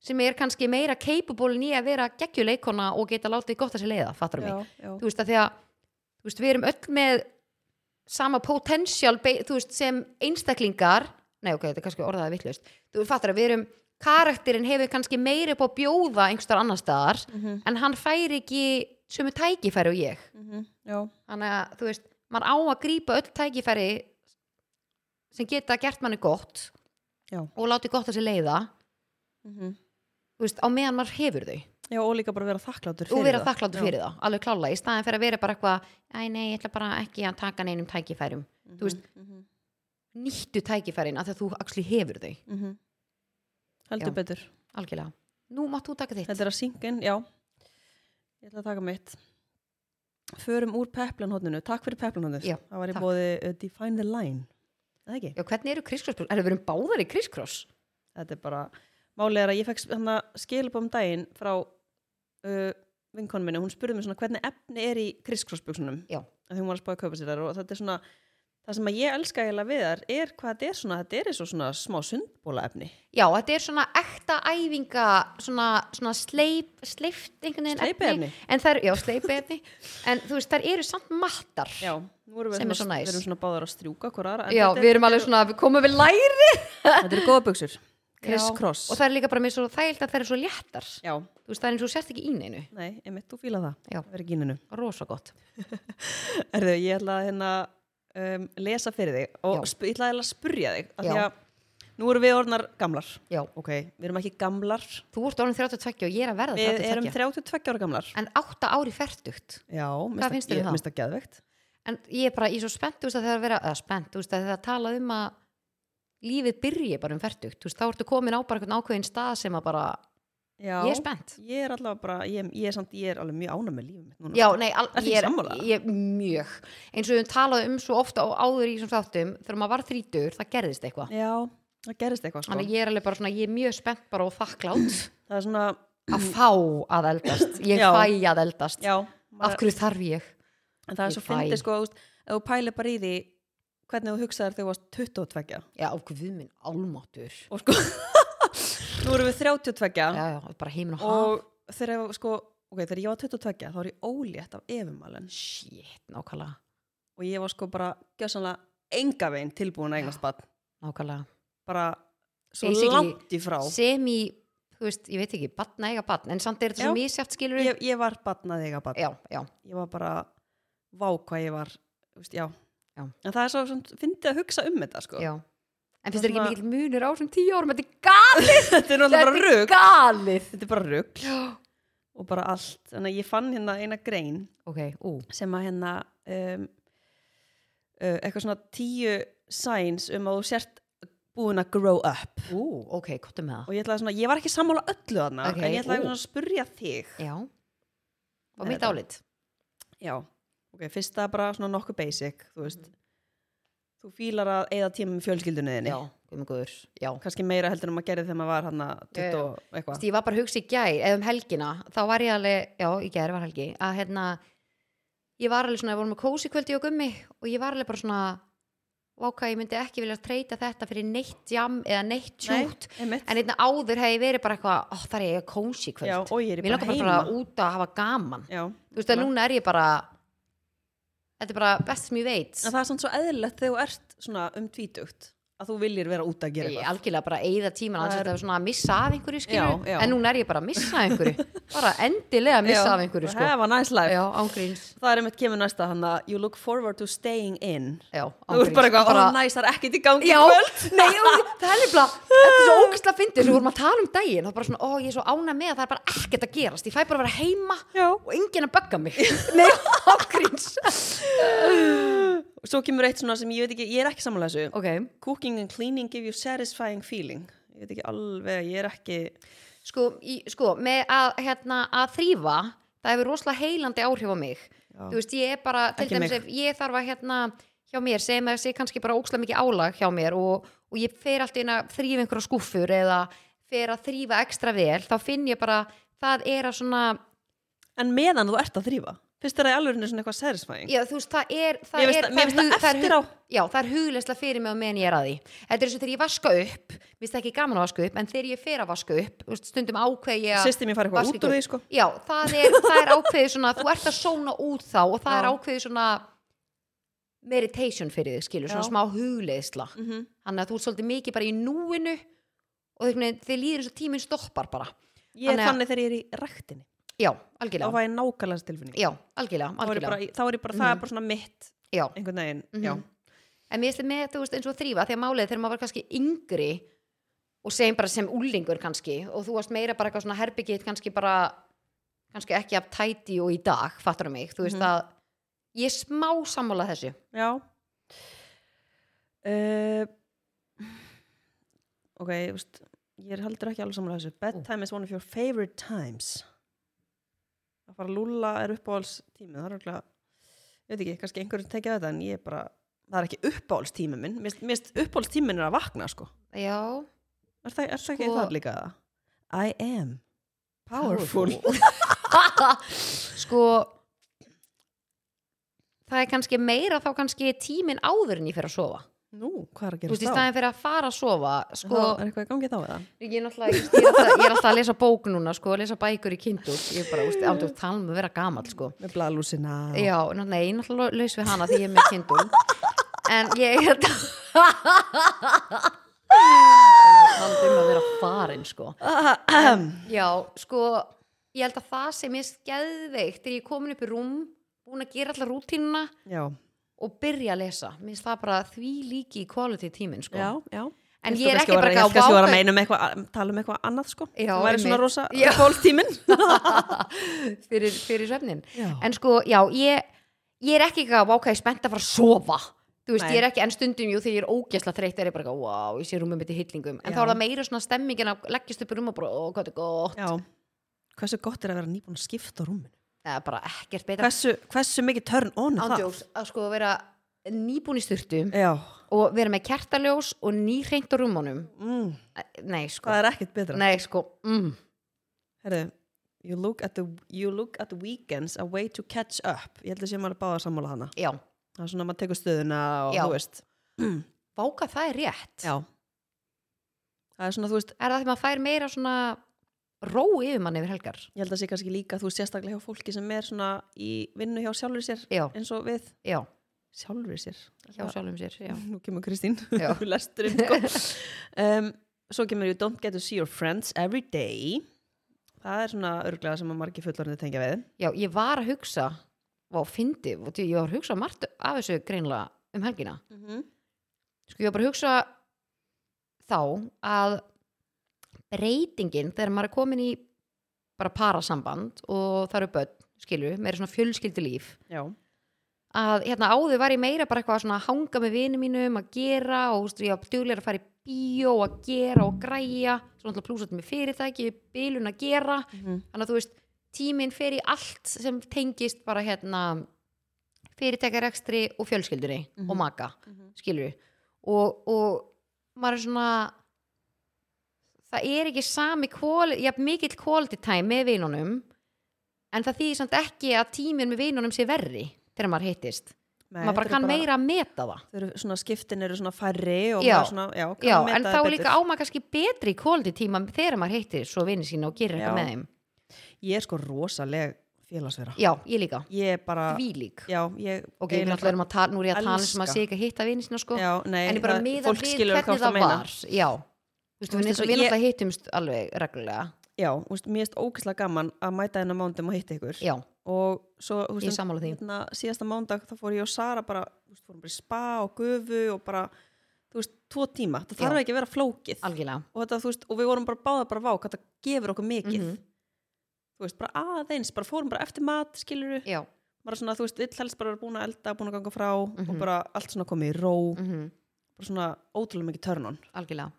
B: sem er kannski meira capable en ég að vera geggjuleikona og geta látið gott að sér leiða, fattar mig
A: já, já,
B: þú veist að því að þú veist, við erum öll með sama potential be- þú veist, sem einstaklingar nei ok, þetta er kannski orðaði vittlust þú fattar að við erum, karakterinn hefur kannski meira upp á að bjóða einhverstaðar annar staðar
A: Mhm,
B: en hann fær ekki sömu tækifæri og ég
A: mhm, já,
B: þannig að þú veist, mann á að grípa öll tækifæri sem geta gert manni gott
A: Já.
B: og láti gott að sér leiða
A: mhm.
B: þú veist, á meðan maður hefur þau
A: já, og líka bara vera þakklátur fyrir
B: og vera
A: það.
B: þakkláttur
A: Já.
B: fyrir það, alveg klála í staðin fyrir að vera bara eitthvað, æ nei, ég ætla bara ekki að taka neinum tækifærum,
A: Mhm,
B: þú veist.
A: mhm,
B: nýttu tækifærin af því að þú axli hefur þau,
A: mhm. heldur
B: Já.
A: betur
B: algjörlega nú mátt þú taka þitt,
A: Þetta er að syngin, já. Ég ætla að taka mitt. Förum úr peplanhóttinu. Takk fyrir peplanhóttinu.
B: Já,
A: Það var í
B: takk.
A: bóði uh, Define the Line. Eða ekki?
B: já hvernig eru kriskross erum við erum báðar í kriskross
A: Þetta er bara, málið er að ég fekk hann að skilja um daginn frá uh, vinkonu minni. Hún spurði mig svona hvernig efni er í kriskrossbuksunum.
B: Já.
A: Þegar hún var að spáði að kaupa sér þar og þetta er svona, það sem að ég elska eiginlega við þar er hvað þetta er svona, þetta er eins og svona smá sundbóla efni.
B: já, þetta er svona ekta æfinga svona, svona sleip sleift einhvern veginn
A: Sleipiefni.
B: en það eru, já, sleipiefni en þú veist, þær eru samt mattar
A: Já, nú erum við
B: Sem er svo
A: svona,
B: næs.
A: við erum svona báðar að strjúka hver aðra. en
B: Já,
A: þetta er-
B: við erum alveg svona, við komum við læri
A: *laughs* Þetta eru góða buksur. Chris
B: Já,
A: Cross.
B: og það er líka bara mér svo þægilt að það eru svo léttar
A: Já,
B: þú veist, það er eins og þú sérst ekki í neinu
A: nei, einmitt, þú fíla það.
B: Já.
A: Það verður gíninu.
B: rosa gott
A: Erðu, ég ætla að hérna um, lesa fyrir þig og
B: Já.
A: sp- ég ætla eiginlega að spurja þig. af Því
B: Já.
A: að nú erum við orðnar gamlar.
B: já,
A: Ok, við erum ekki gamlar.
B: Þú ert orðin 32 og ég er að verða
A: Við
B: 32
A: erum 32 ára gamlar.
B: En 8 ári færtugt
A: Já,
B: Hvað finnst þér um það?
A: Mista geðvegt.
B: En ég er bara, ég er svo spennt þú veist, að það er að vera, eða spennt, þú veist, að það tala um að lífið byrji bara um færtugt Þú veist, þá ertu komin á bara einhvern ákveðin stað sem að bara,
A: Já.
B: ég er spennt
A: Ég er allavega bara, ég, ég er samt, ég er alveg mjög ánæg með lífum mitt núna.
B: Já, nei, al,
A: Ertu
B: ég er
A: sammála?
B: ég, mjög eins og við talaði um svo ofta á áður í þessum þáttum þegar maður var þrítur, það gerðist eitthvað
A: Já, það gerist eitthvað sko.
B: Þannig að ég er alveg bara svona, ég er mjög spennt bara og þakklátt
A: Það er svona,
B: að fá að eldast, ég
A: Já.
B: fæ að eldast
A: já.
B: Af hverju þarf ég?
A: en það
B: Ég
A: er svo
B: fæ.
A: fyndið sko þú veist, ef þú pælir bara í því hvernig þú hugsaðar þegar þú varst 22
B: já, guð minn, álmáttur
A: og sko *laughs* nú erum við 32
B: já, já, bara heiminn og haf
A: og þegar ég- sko ok, þegar ég var 22 þá var ég ólétt af efumalen
B: shit, nákvæmlega,
A: og ég var sko bara gjössanlega enga veginn tilbúin að eignast bann
B: nákvæmlega
A: bara svo
B: Basically,
A: langt í frá
B: sem í, þú veist, ég veit ekki batna eiga batn, en samt er
A: Já.
B: þetta svo misjátt skilur
A: ég, ég var bann að eiga bann
B: já, já,
A: ég var bara vá hvað ég var þú veist, já.
B: Já.
A: en það er svo svona, fyndið að hugsa um þetta sko.
B: já en finnst þetta
A: Svona-
B: ekki mikill munur á þessum tíu árum þetta er galið,
A: *laughs* þetta er náttúrulega bara
B: þetta er
A: rugg
B: galið
A: þetta er bara rugg og bara allt, þannig að ég fann hérna eina grein
B: ok, ú,
A: sem að hérna um, uh, eitthvað svona tíu signs um að þú sért búin að grow up
B: ú, ok, kottum með það
A: og ég ætlaði svona, ég var ekki sammála öllu þarna
B: Ok,
A: en ég ætlaði
B: ú.
A: svona að spurja þig
B: já, var
A: Nei,
B: mitt
A: þetta-
B: álit
A: Já, ok, fyrsta bara svona nokkuð basic, þú veist
B: Mm.
A: þú fílar að eigða tíma með fjölskyldunniðinni
B: já, um guður, já
A: kannski meira heldur en maður gerði þegar maður var hann að
B: Já, já.
A: 20 og
B: Þú veist,
A: eitthvað
B: ég var bara að hugsa í gær, eða um helgina þá var ég alveg, já, í gær var helgi að hérna, ég var alveg svona ég voru með kósi kvöldi og gummi og ég var alveg bara svona, váka, ég myndi ekki vilja treyta þetta fyrir neitt jam eða neitt tjútt,
A: einmitt.
B: en hérna áður hef ég verið bara eitthvað, ó, þar er ég kósi kvöld
A: Já, og ég er
B: mér
A: bara
B: langar bara
A: heima.
B: að fara út að hafa gaman
A: Já,
B: þú veist, að núna er ég bara þetta er bara best sem ég veit
A: en það er svona svo eðlilegt þegar þú ert svona um tvítugt að þú viljir vera út að gera
B: Ég
A: eitthvað
B: algjörlega bara eyða tíman að
A: Það
B: þetta er svona að missa af einhverju skilur,
A: Já, já.
B: en núna er ég bara að missa af einhverju
A: *laughs*
B: bara endilega að missa
A: Já,
B: af einhverju
A: bara
B: sko.
A: Have a nice life
B: já, ángríns
A: Það er einmitt kemur næsta hann að you look forward to staying in
B: Já,
A: Þú ert bara eitthvað, ó næs, það er ekkert í gangi í
B: Já,
A: kvöld
B: *laughs* nei, já, það er nefnilega
A: *laughs*
B: Þetta er svo ógæslega fyndið, þú vorum að tala um daginn Það er bara svona, ó, ég er svo ána með að það er bara ekkert að gerast Ég fæ bara að vera heima
A: Já.
B: og enginn að bögga
A: *laughs*
B: mig Nei, ágríns
A: Og Svo kemur eitt svona sem ég veit ekki, ég er ekki samanlega þessu
B: Ok,
A: Cooking and cleaning give you satisfying feeling Ég veit ekki alveg, ég er ekki
B: sko, í, sko með að, hérna, að þrýfa Það hefur rosalega heilandi áhrif á mig
A: Já.
B: Þú veist, ég er bara, til
A: Ekki
B: dæmis
A: mig.
B: ef ég þarf að hérna hjá mér, segjum að það sé kannski bara ógæslega mikið álag hjá mér og, og ég fer allt inn að þrýfa einhverja skúffur eða fer að þrýfa ekstra vel, þá finn ég bara það er að svona
A: En meðan þú ert að þrýfa Fyrst er það í alvegurinu svona eitthvað satisfying
B: Já, þú veist, það er það
A: Mér finnst
B: er,
A: það- mér finnst það
B: það er,
A: eftir á.
B: hug- Já, það er hugleysla fyrir mig og meðan ég er að því Þetta er eins og þegar ég vaska upp Mér finnst það ekki gaman að vaska upp, en þegar ég fer að vaska upp þú veist, Stundum ákveð ég að
A: Systir mér fari eitthvað
B: vaska
A: út úr
B: ekki
A: því, sko.
B: Já, það er, það er ákveðið svona Þú ert að sóna út þá og það
A: Já.
B: er ákveðið svona meditation fyrir þig, skilur, svona
A: Já.
B: smá hugleysla
A: mm -hmm.
B: Þannig að þú ert svolítið mikið bara í núinu og þegar, þegar líður eins og tíminn stoppar bara
A: Ég er
B: Þannig að-
A: þannig þegar ég er í ræktinni
B: Já,
A: Þá
B: algjörlega
A: var ég nákvæmlega þessi tilfinning
B: Já, algjörlega,
A: Þá er ég
B: algjörlega
A: bara, þá er ég bara, það er bara svona mitt
B: Já,
A: Einhvern veginn,
B: Mhm.
A: já
B: en mér finnst með, þú veist, eins og þrýfa þegar málið er þegar maður var kannski yngri og segjum bara sem úlingur kannski og þú varst meira bara eitthvað svona herbyggitt kannski bara, kannski ekki af tæti og í dag, fattar mig, þú veist
A: Mhm.
B: að ég er smá sammála þessu
A: Já uh, Ok, þú veist Ég er heldur ekki alveg samanlega þessu Bedtime is one of your favorite times Að fara að lúlla er uppáhaldstími Það er örgulega Ég veit ekki, kannski einhverjum tekja þetta En ég er bara, það er ekki uppáhaldstími minn Mér mér finnst uppáhaldstímin er að vakna sko
B: Já,
A: Er það, er það ekki
B: Sko-
A: það líka það? I am Powerful,
B: *laughs* sko það er kannski meira þá kannski tíminn áður en ég fyrir að sofa
A: *laughs* Nú, hvað er að
B: þú
A: gera
B: veist, í staðin fyrir að fara að sofa sko,
A: Það er eitthvað í gangi þá eða?
B: Ég er náttúrulega, ég, ég, er alltaf, ég er alltaf að lesa bók núna sko, að lesa bækur í kindur ég er bara, úst, ándur tala um að vera gamall sko.
A: Með bladlúsina
B: já, ná, nei, ég er náttúrulega laus við hana því ég er með kindur en ég er *laughs* tala um að vera farin sko. já, sko ég held að það sem er skeðveikt þegar ég er komin upp í rúm búin að gera alltaf rútínuna
A: *clears throat* Já,
B: og byrja að lesa, mér finnst það bara því líki í quality tíminn sko.
A: já, já
B: en
A: Ég
B: ég er
A: held
B: ekki bara
A: að
B: eitthvað
A: kannski var að
B: vákau-
A: meina um eitthvað, tala um eitthvað annað sko
B: Já,
A: það væri svona
B: einmitt.
A: rosa
B: *laughs* Já.
A: fólktímin
B: *laughs* fyrir, fyrir svefnin
A: Já.
B: en sko, já, ég, ég er ekki eitthvað vákæði spennt að fara að sofa þú veist,
A: Nei.
B: ég er ekki enn stundum, jú, þegar ég er ógesla þreytt er ég bara, eitthvað, wow, ég sé rúmið mitt í hillingum en
A: Já.
B: þá er það meira svona stemmingin að leggjast upp í rúm og bara, ó, hvað er gott
A: Já, hversu gott er að vera nýbúin að skipta rúmin
B: eða bara ekkert betra
A: hversu, hversu mikið törn on er það
B: ándjóks, að sko vera nýbúin í styrtu
A: Já,
B: og vera með kertaljós og nýhreint á rúmunum
A: mm,
B: nei, sko,
A: það er ekkert betra
B: nei, sko mm.
A: Herðu, you look, at the, you look at the weekends a way to catch up ég held að sé maður báða sammála hana
B: já,
A: það er svona að maður tekur stöðuna og
B: Já.
A: þú veist
B: bóka það er rétt
A: já það er svona þú veist
B: er það því maður fær meira svona ró yfir mann yfir helgar
A: ég held að sé kannski líka þú veist sérstaklega hjá fólki sem er svona í vinnu hjá sjálfur sér
B: já,
A: eins og við
B: já,
A: sjálfur sér
B: hjá sjálfum sér já,
A: nú kemur Kristín *laughs*
B: Já.
A: lesturinn
B: *laughs*
A: sko um, svo kemur you don't get to see your friends every day það er svona örglega sem að margir fullorðinu tengja við
B: já ég var að hugsa og fyndi, og ég var að hugsa margt af þessu greinlega um helgina
A: mm -hmm.
B: sko ég var bara að hugsa þá að breytingin þegar maður er komin í bara parasamband og það eru börn, skilju, meira svona fjölskyldu líf
A: já,
B: að hérna áður var ég meira bara eitthvað svona að hanga með vinum mínum að gera og úst, ég var duglega að fara í bíó að gera og græja svona alltaf plúsat með fyrirtæki, bílun að gera þannig að þú veist, tíminn fer í allt sem tengist bara hérna fyrirtækjarekstri og fjölskyldunni
A: Mhm.
B: og maka,
A: Mhm.
B: skilur við og, og maður er svona það er ekki sami kvóli, já, mikill quality time með vinunum en það þýðir samt ekki að tíminn með vinunum sé verri þegar maður hittist
A: Nei,
B: maður bara
A: þetta eru
B: kann meira að meta það
A: þau eru svona skiptin eru svona færri og
B: Já.
A: maður svona, já, kann
B: já,
A: að meta
B: en
A: það
B: þá
A: betur.
B: líka á maður kannski betri quality tíma þegar maður hittir svo vinni sína og gerir eitthvað
A: Já.
B: með þeim
A: ég er sko rosaleg félagsvera
B: já, ég líka,
A: ég er bara,
B: þvílík
A: já, ég
B: ok, við náttúrulega erum að tala, nú er ég að tala um sem að
A: Elska.
B: sé ekki að hitta vini sína sko,
A: já, nei,
B: en ég bara
A: það-
B: miða
A: fólk
B: við
A: skilur
B: hvernig
A: hvað þú
B: það
A: meina.
B: var já, þú veist,
A: Þú
B: við
A: veist, eins og
B: náttúrulega
A: ég-
B: ég... hittumst alveg reglulega,
A: já, þú veist, mér erst ógæslega gaman að mæta hennar mándum og hitta ykkur
B: já,
A: og svo, þú
B: ég
A: veist,
B: er sammála því
A: hérna, síðasta mándag þá fór ég og Sara bara, þú veist, fórum bara í spa og gufu og bara, þú veist, tvo tíma það þarf
B: Já.
A: ekki að vera flókið
B: algjörlega,
A: og, þetta, þú veist, og við vorum bara báða bara vá hvað það gefur okkur mikið
B: Mhm.
A: þú veist, bara aðeins, bara fórum bara eftir mat skiluru,
B: já,
A: bara svona, þú veist, vill helst bara vera búin að elda, búin að ganga frá og
B: Mhm.
A: bara allt svona komið í ró,
B: mm
A: bara svona ótrúlega mikið törnun
B: algjörlega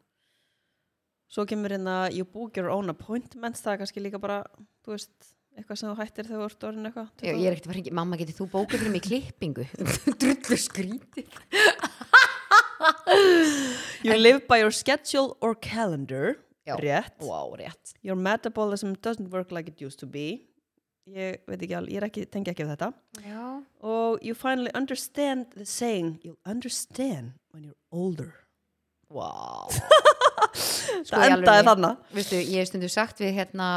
A: svo kemur hérna, you book your own appointments það er kannski líka bara, þú veist eitthvað sem þú hættir þegar þú ert orðin eitthvað
B: já, ég er ekkert að fara ekki, mamma getur þú bókað fyrir mig klippingu *laughs*
A: *laughs*
B: drullu skríti
A: You live by your schedule or calendar
B: Já.
A: rétt
B: wow, rétt,
A: Your metabolism doesn't work like it used to be Ég veit ekki alveg, ég er ekki, tengi ekki af þetta
B: já,
A: Og you finally understand the saying You'll understand when you're older
B: wow Sko,
A: Það
B: í
A: endaði
B: alvörunni.
A: þarna
B: veistu, ég hef stundu sagt við hérna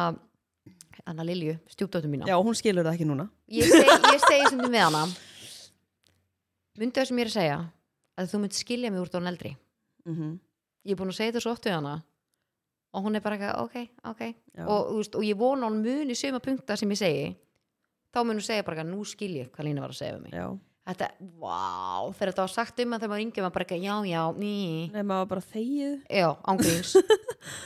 B: Anna Lilju, stjúpdóttur mína
A: Já, hún skilur það ekki núna
B: ég segi, ég segi stundum við hana myndu það sem ég er að segja að þú mynd skilja mig úr dón eldri
A: mm
B: ég er búin að segja þetta svo oft við hana og hún er bara eitthvað, ok, ok
A: Já.
B: og, þú veist, og ég vona hún muni söma punkta sem ég segi þá mun hún segja bara eitthvað, nú skil ég hvað Lína var að segja um mig
A: Já,
B: þetta, vá, þegar þetta var sagt um að þegar maður yngið maður bara eitthvað, já, já, ný
A: nei, maður var bara þegið
B: já,
A: *laughs*
B: ángríns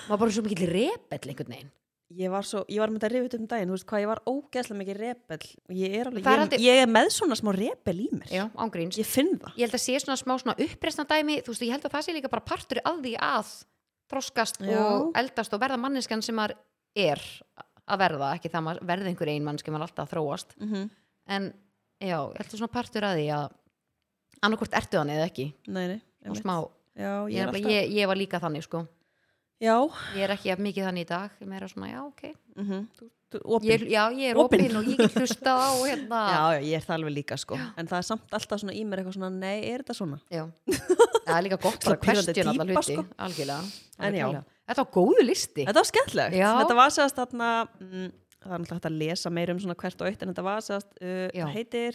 B: maður bara svo mikill repell einhvern veginn
A: Ég var svo, ég var með þetta rifið um daginn Þú veist hvað, ég var ógeðslega mikið rebel Ég er alveg,
B: Það er
A: ég,
B: aldrei-
A: ég er með svona smá rebel í mér
B: já, ángríns
A: Ég finn það
B: ég held að sé svona smá svona uppreisna dæmi þú veist, ég held að það sé líka bara partur af því að þroskast
A: Já.
B: og eldast og verða manneskan sem maður er að verða, ekki það maður verði einhver ein mannski maður er alltaf að þróast
A: mm -hmm.
B: en já, ég held að svona partur af því að annarkvort ertu hann eða ekki
A: Nei, nei,
B: og
A: einmitt.
B: smá,
A: Já,
B: ég,
A: ég er
B: ég,
A: alltaf
B: ég, ég var líka þannig sko,
A: Já,
B: ég er ekki jafn mikið þannig í dag, ég er meira svona, já, ok
A: mm -hmm. þú, þú, opin
B: Mhm. ég, já, ég er
A: Opin.
B: opinn og ég get hlustað á hérna,
A: Já, já, ég er það alveg líka sko En það er samt alltaf svona í mér eitthvað svona Nei, er þetta svona?
B: Já, það er líka
A: *laughs*
B: gott bara
A: Svona pírandi
B: question alla
A: típa,
B: hluti,
A: sko.
B: algjörlega
A: En já.
B: Algjörlega. Þetta var góðu listi
A: Þetta var skemmtilegt
B: Já.
A: Þetta var sérst þarna mm, Það er náttúrulega hægt að lesa meir um svona hvert og eitt En þetta var sérst uh,
B: Já.
A: Það heitir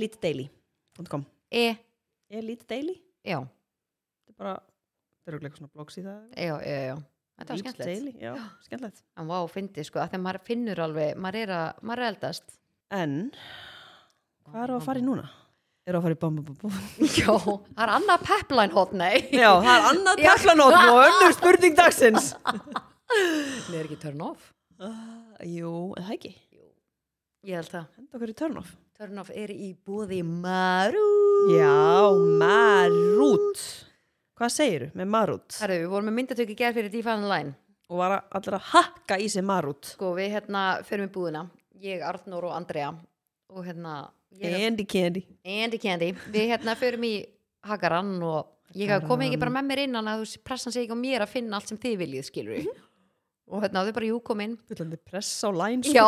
A: elitedaily.com
B: e,
A: Elitedaily?
B: já,
A: Þetta er bara Það eru eitthvað svona blogs í það
B: já, já, já Þetta var skemmtilegt
A: Daily, já, skemmtilegt
B: En vá, fyndi sko, að þegar maður finnur alveg maður er að, maður er að eldast
A: En Hvað eru að fara í núna? Eru að fara í bom, bom, bom, bom
B: *laughs* Já, það er annað pepline hot, nei
A: *laughs* Já, það er annað
B: Já.
A: taflanótt og önnur spurning dagsins *laughs*
B: Nei, er ekki turn off
A: uh, Jú, en það ekki
B: Ég held það
A: Henda okkur í turn off
B: Turn off er í búði Marú
A: Já, marút Hvað segiru með marút?
B: Herru, við vorum með myndatöku gerð fyrir Define Line
A: Og var að- allir að hakka í sig marút
B: Sko, við hérna förum í búðina Ég, Arnór og Andrea og hérna ég,
A: Andy Candy
B: Andy Candy, við hérna förum í Hagarann
A: Mhm.
B: og ég hafði komið ekki bara með mér innan að þú veist, pressan sé ekki á mér að finna allt sem þið viljið skilur og hérna þau bara jú kom inn
A: Fyllandi press á sko. læn
B: já,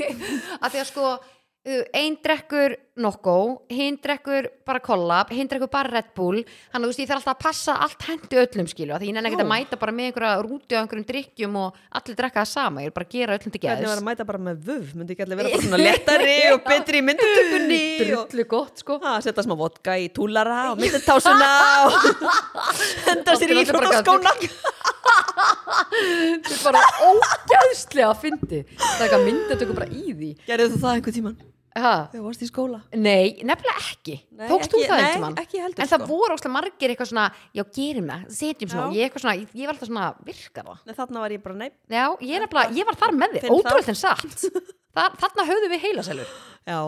A: *laughs*
B: af því að sko uh, ein drekkur nokkó hinn drekkur bara kollab hinn drekkur bara Red Bull þannig að þú veist ég þarf alltaf að passa allt hendu öllum skilu af því ég nenni
A: Já.
B: ekkert að mæta bara með einhverja rúti og einhverjum drikkjum og allir drekka það sama ég er bara að gera öllum til
A: Hvernig var
B: geðs
A: að mæta bara með vöf Myndi ekki allir vera
B: *laughs*
A: bara svona lettari og betri í myndutökunni og
B: drullu gott sko
A: Ha, setja smá vodka í túlara og
B: *laughs*
A: myndutásuna og henda sér í
B: Allir bara
A: frókaskóna
B: þetta er bara ógæðslega að fyndi það er ekki að mynda þetta bara í því
A: Gerðu þú það einhver tíman
B: ha.
A: þegar þú varst í skóla?
B: Nei, nefnilega ekki
A: Nei,
B: Tókst þú
A: ekki-
B: það
A: nei,
B: einhvern tímann?
A: ekki heldur,
B: En það
A: sko.
B: voru óslega margir eitthvað svona Já, gerum það, setjum
A: Já.
B: svona og Ég, eitthvað svona, ég, ég var alltaf svona, virkar það
A: Nei, þarna var ég bara, nei,
B: Já, ég, er nefnilega, ég var þar með þið,
A: Finn það.
B: ótrúlega en satt
A: *laughs*
B: Þa- Þarna höfðum við heilaselur
A: já,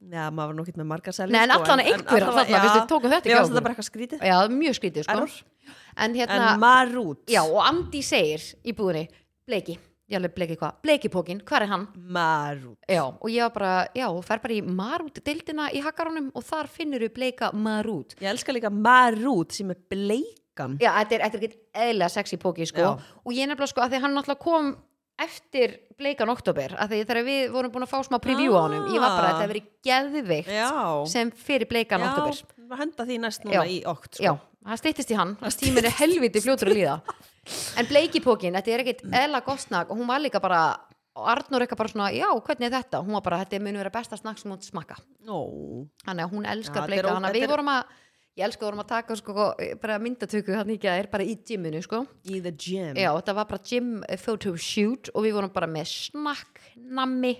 A: já, maður var nokkið með marga selja sko,
B: Nei, en allan einhverja þarna, við tókum þetta
A: Ég
B: ekki á
A: varst þetta
B: okkur
A: bara eitthvað skrítið
B: Já, mjög skrítið, sko
A: Error.
B: En
A: En
B: hérna,
A: maður út
B: já, og Andi segir í búðinni Bleiki, ég alveg bleiki hvað Bleikipókin, hvað er hann?
A: Maður út
B: Já, og ég var bara, já, fer bara í marút deildina í hakkarónum og þar finnur við bleika marút
A: Ég elska líka maður út sem er bleikan
B: Já, þetta er, þetta er ekkert eðlilega sexy póki sko.
A: Já.
B: og ég nefnilega sko að því hann náttúrulega kom eftir bleikan oktober að því þegar við vorum búin að fá smá preview á honum ég var bara að þetta hefur verið geðveikt
A: Ah. Já,
B: sem fyrir bleikan oktober
A: já sko. henda því næst núna
B: Já.
A: í okt sko.
B: Já, það styttist í hann, hans tíminn er helviti fljótur
A: *laughs*
B: að líða en bleikipókin, þetta er ekkert eðla gott snakk og hún var líka bara og Arnur eitthvað bara svona, já, hvernig er þetta? Hún var bara, þetta mun vera besta snakk sem hún smakka
A: Nó,
B: þannig að hún
A: Já,
B: elskar
A: þetta er
B: bleika
A: ó-
B: hana
A: þetta
B: við
A: er-
B: vorum að, ég elskar vorum að taka sko, bara myndatöku hann ekki að er bara í gyminu sko.
A: í the gym
B: já, þetta var bara gym eh, photoshoot og við vorum bara með snakk, nammi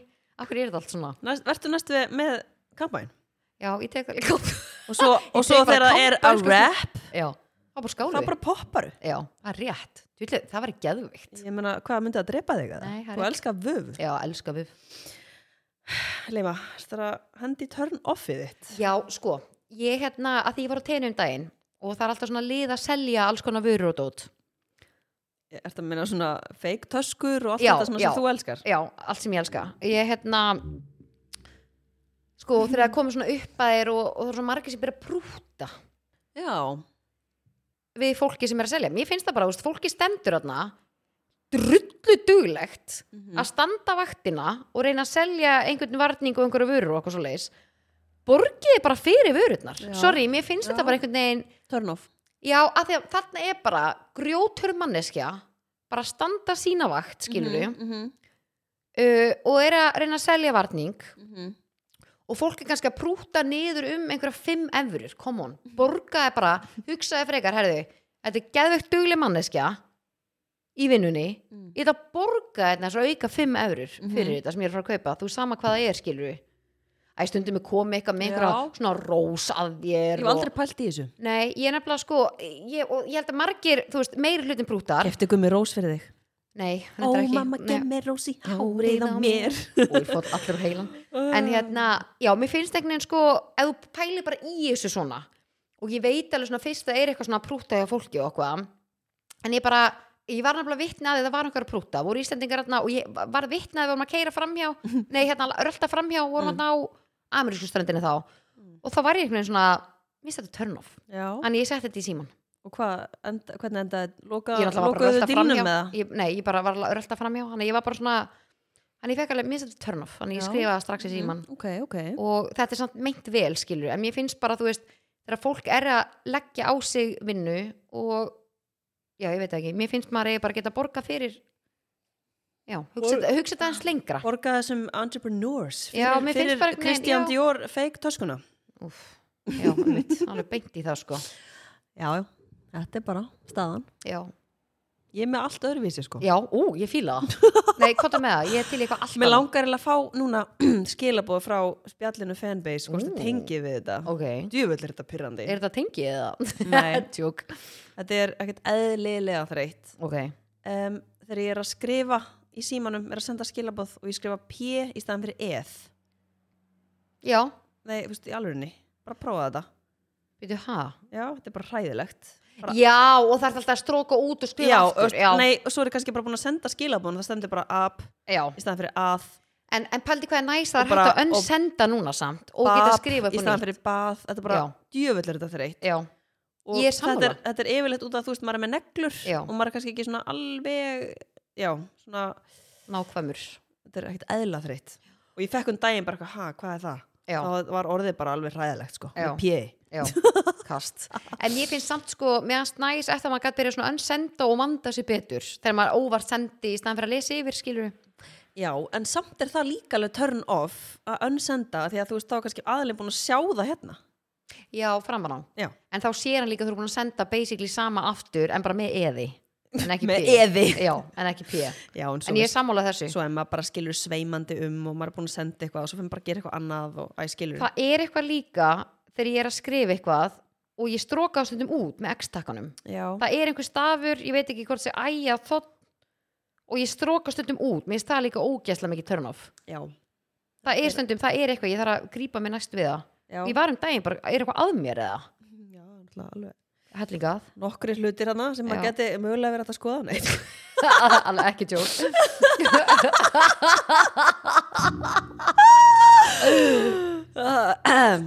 B: akkur er þetta allt svona
A: Næst, Vertu næst við með kampæn
B: já, ég tek það líka upp
A: Og svo, og
B: Ég
A: svo
B: tek bara
A: þegar það er
B: kampavín,
A: að
B: sko,
A: rap
B: *laughs* já, það var bara
A: Þá
B: skálu
A: bara popparu
B: já, það er rétt, Tjúli, það var geðvikt
A: Ég meina, hvað myndi að drepa þig að
B: Nei, það
A: það?
B: er
A: Þú
B: ekki-
A: elskar vöf
B: já, elskar við
A: Leima, það er að hendi turn offið þitt
B: já, sko, ég hérna, að því ég var á teinu um daginn og það er alltaf svona lið að selja alls konar vörur og dót
A: Er þetta að minna svona fake töskur og allt
B: Já,
A: þetta sem,
B: já.
A: sem þú elskar?
B: já, allt sem ég elska ég hérna sko þegar það komið svona upp að þér og, og það er svo margir sem byrja að prúta
A: Já,
B: við fólki sem er að selja mér finnst það bara, þú veist, fólki stendur þarna drullu duglegt
A: Mm.
B: að standa vaktina og reyna að selja einhvern varning og einhverju vörur og eitthvað svo leiðis borgiði bara fyrir vörurnar
A: Já.
B: sorry, mér finnst
A: Já.
B: þetta bara einhvern veginn
A: turn off
B: já, að því að þarna er bara grjótur manneskja bara að standa sína vakt, skilur við
A: mm -hmm,
B: uh, og er að reyna að selja varning
A: mm -hmm.
B: og fólk er kannski að prúta niður um einhverja 5 efurur, come on borgaði bara, hugsaði frekar, herðu þetta er geðvegt dugleg manneskja í vinnunni
A: Mm.
B: ég ætla að borga þetta svo auka 5 efurur fyrir
A: Mhm.
B: þetta sem ég er að fara að kaupa þú sama hvað það er, skilur við að stundum er komið eitthvað með einhverja
A: Já.
B: svona rós að þér
A: Ég hef aldrei pælt í þessu
B: og, nei, ég er nefnilega sko ég, og ég held að margir, þú veist, meiri hlutin prútar
A: Kefti gummi rós fyrir þig
B: nei,
A: Ó,
B: reyndar ekki
A: mamma,
B: Nei.
A: gem mér rós í
B: Hárið
A: hárið
B: á
A: á mér
B: og ég fótt allur á heilan en hérna, já, mér finnst einhvern veginn sko ef þú pælir bara í þessu svona og ég veit alveg svona fyrst það er eitthvað svona að prúta hjá fólki og okkur en ég bara, ég var nefnilega vitni að því það var einhver að prúta, voru Íslendingar hérna og ég var vitni að við vorum að keira
A: *laughs*
B: framhjá nei, hérna, rölda framhjá og vorum
A: Mm.
B: hérna á amerísku ströndinni þá
A: Mm.
B: og þá var ég einhvern veginn svona, minnst þetta turn off
A: Já,
B: en ég setti þetta í síman
A: og hvað, enda, hvernig endaði loka,
B: ég er alltaf bara að
A: lokaðu
B: rölda
A: dýlnum með
B: framhjá
A: það?
B: ég, nei, ég bara var að rölda framhjá þannig að ég var bara svona, þannig að ég fekk alveg minnst þetta turn off, þannig að ég
A: Já.
B: skrifaði það strax í síman
A: Mm, Ok, ok
B: og þetta er samt meint vel skilur en mér finnst bara þú veist þegar fólk er að leggja á sig vinnu og já ég veit það ekki mér finnst maður eigi bara að geta borga fyrir já, hugsa
A: Bor-
B: þetta- hugsa þetta aðeins lengra
A: Borga þessum entrepreneurs
B: Já,
A: fyrir,
B: mér finnst
A: fyrir
B: bara einhvern veginn-
A: Christian
B: já.
A: Dior fake töskuna
B: Úf, já, mitt, alveg beint í það sko
A: Já, já, þetta er bara staðan
B: já,
A: Ég er með allt öðruvísi sko
B: já ú, ég fíla það *laughs* nei, konta með það, ég er til í eitthvað alltaf
A: Mér langar eða að fá núna *clears throat* skilabóð frá spjallinu fanbase hvort
B: Ú.
A: það tengið við þetta
B: ok,
A: Djúvöld er þetta pyrrandi
B: er þetta tengið eða? *laughs*
A: Nei.
B: tjók
A: Þetta er ekkert eðlilega þreytt
B: ok,
A: um, Þegar ég er að skrifa í símanum er að senda skilabóð og ég skrifa P í staðan fyrir eð
B: já,
A: Nei, þú veist, í alvörinni, bara prófa þetta
B: veitu hæ
A: Já, þetta er bara hræðilegt Bara
B: já, og það er alltaf að stróka út og skrifa
A: Já,
B: aftur
A: og, nei, og svo er ég kannski bara búin að senda skilabóðan það stendur bara up
B: já,
A: í staðan fyrir að
B: En, en pældi hvað er næst
A: Og
B: það er
A: bara-
B: hægt að önnsenda núna samt og
A: bab
B: geta að skrifa
A: í
B: upp á
A: staðan
B: nýtt.
A: fyrir bað þetta er bara
B: Já.
A: djöfull er þetta þreytt
B: Já,
A: og
B: Ég er
A: þetta,
B: sammála.
A: er, þetta er yfirleitt út af þú veist maður er með neglur
B: Já.
A: og maður er kannski ekki svona alveg já, svona,
B: nákvæmur
A: þetta er ekkert eðla þreytt og ég fekk um daginn bara, eitthvað, ha, hvað er það?
B: já,
A: þá var orðið bara alveg hræðilegt sko,
B: Já.
A: með pjei
B: já,
A: *laughs*
B: kast en ég finnst samt sko, meðan næs eftir að maður gæti byrjað svona önsenda og manda sér betur þegar maður óvart sendi í staðan fyrir að lesa yfir skilur
A: Já, en samt er það líka alveg turn off að önsenda því að þú veist þá er kannski aðlinn búin að sjá það hérna
B: já, framan á
A: Já,
B: en þá sér hann líka að þú eru búin að senda basically sama aftur en bara með eði en ekki
A: Með
B: P.
A: eði.
B: já, en ekki p
A: já en *laughs* svo,
B: en ég er sammála þessu
A: svo er maður bara skilur sveimandi um og maður er búin að senda eitthvað og svo fyrir maður bara að gera eitthvað annað og æ, skilur
B: það er eitthvað líka þegar ég er að skrifa eitthvað og ég stróka á stundum út með x-takkanum
A: Já,
B: það er einhver stafur, ég veit ekki hvort sé æja þótt og ég stróka stundum út, mér finnst það líka ógæsla mikið turn off
A: já,
B: það er stundum, það er eitthvað, ég þarf að grípa mig næst við það
A: já,
B: ég var um daginn bara, er eitthvað að mér eða
A: já náttúrulega alveg
B: *laughs* hellingað,
A: Nokkri hlutir hana sem maður
B: Já.
A: geti mögulega verið hægt að skoða neitt
B: alveg ekki tjók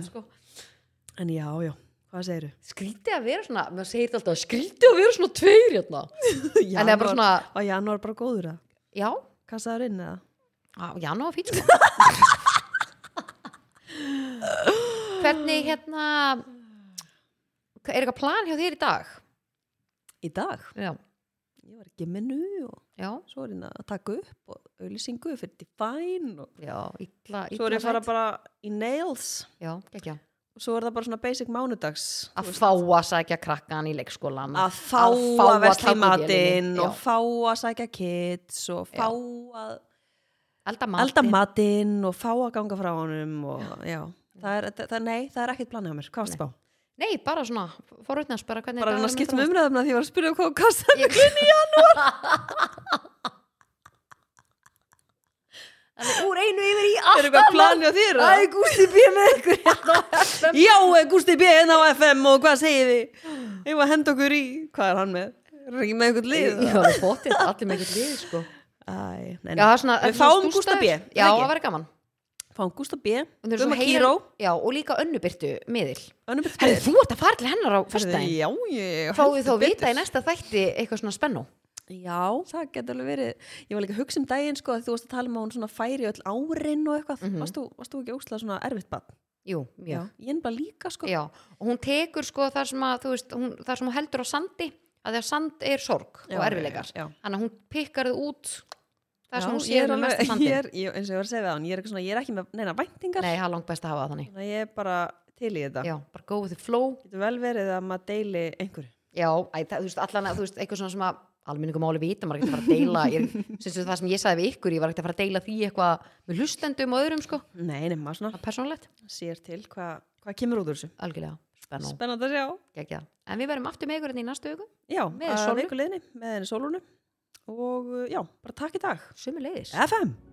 B: Sko.
A: En já, já, hvað segiru?
B: skrítið að vera svona, maður segir þetta alltaf skrítið að vera svona tveir hérna en það er bara svona,
A: Á janúar bara góður að
B: já,
A: kassaður inn eða?
B: á, já, ná, fínt *laughs* sko. hvernig hérna er eitthvað plan hjá þér í dag?
A: Í dag?
B: já,
A: Ég var ekki með nú og
B: já,
A: svo er hérna að taka upp og auðlýsingu fyrir Divine og
B: já illa, illa
A: svo er ég fara
B: sætt.
A: bara í Nails
B: já, ekki,
A: og svo er það bara svona basic mánudags
B: að fá að sækja krakkan í leikskólan
A: að fá
B: að fá
A: að
B: að
A: vesla í
B: taka úr
A: matinn
B: vélinni,
A: og
B: já.
A: fá að sækja kids og fá að elda
B: elda matinn
A: matinn og fá að ganga frá honum og já, það er, það, það- nei, það er ekkert planið á mér, hvað varst bá?
B: nei, bara svona, forutnast bara hvernig
A: Bara að reyna
B: dagurinn
A: að skipta um
B: myndi vera.
A: umræðum af því ég var að spyrja um hvað kasta
B: Ég- Alveg úr einu yfir í
A: er eitthvað planið á þér? eða?
B: Gústi B með ykkur
A: *laughs*
B: hérna
A: Já, eh, Gústi B. hérna á FM og hvað segir þið? Ég var að henda okkur í, hvað er hann með? Er hann ekki með einhvern lið?
B: Já, það er bóttið, allir með ekki lið sko.
A: Æ, nei,
B: Já, það er svona
A: Við
B: þetta er svona
A: fáum
B: stústaður.
A: Gústa B, er
B: Já,
A: það ekki?
B: það væri gaman
A: fáum Gústa B,
B: Hún er svo
A: Guma
B: heiðar-
A: Kíró
B: Já, og líka önnubyrtu miðil
A: Önnubert
B: Herri, þú ert að fara til hennar á fyrstæðin
A: Já, ég
B: Fáðu þá
A: heldur
B: að vita
A: betur.
B: í næsta þætti eitthvað svona spennu
A: Já, það getur alveg verið Ég var líka að hugsa um daginn sko að þú varst að tala um að hún svona færi öll árin og eitthvað
B: Mhm.
A: varst, þú, varst þú ekki óslega svona erfitt bann?
B: Jú, já,
A: Ég er bara líka sko
B: já Og hún tekur sko þar sem að, þú veist, hún, þar sem hún heldur á sandi að því að sand er sorg
A: Já,
B: og erfileikar
A: já, já.
B: Þannig að hún pikkar þið út þar
A: Já,
B: sem hún
A: ég er
B: sér um með
A: alveg-
B: mesta
A: *laughs*
B: sandin
A: ég er, ég, eins og ég var að segja við hann, ég er, eitthvað svona, ég er ekki með neina væntingar
B: Nei, það er langt best að hafa það þannig
A: Þannig að ég er bara til í þetta
B: Já, bara go with the flow
A: Getur vel verið að maður deili einhverju
B: Já, æ, það, þú veist, allan að, þú veist, eitthvað svona sem að almenningum máli vita, maður er ekkert að fara
A: *laughs*
B: að deila ég, sem sem það sem ég sagði við ykkur, ég var ekkert að fara að deila því eitthvað með hlustendum og öðrum, sko
A: Nei, nema svona,
B: það er persónulegt,
A: sér til hvað hva kemur út úr þessu
B: algjörlega, spennu,
A: Spennandi að sjá
B: geggja en við verðum aftur með ykkur hérna í næstu viku
A: Já,
B: Með
A: að
B: Sólu.
A: vikuleginni, með henni sólunu og uh, já, eh, bara takk í dag
B: sömu leiðis
A: FM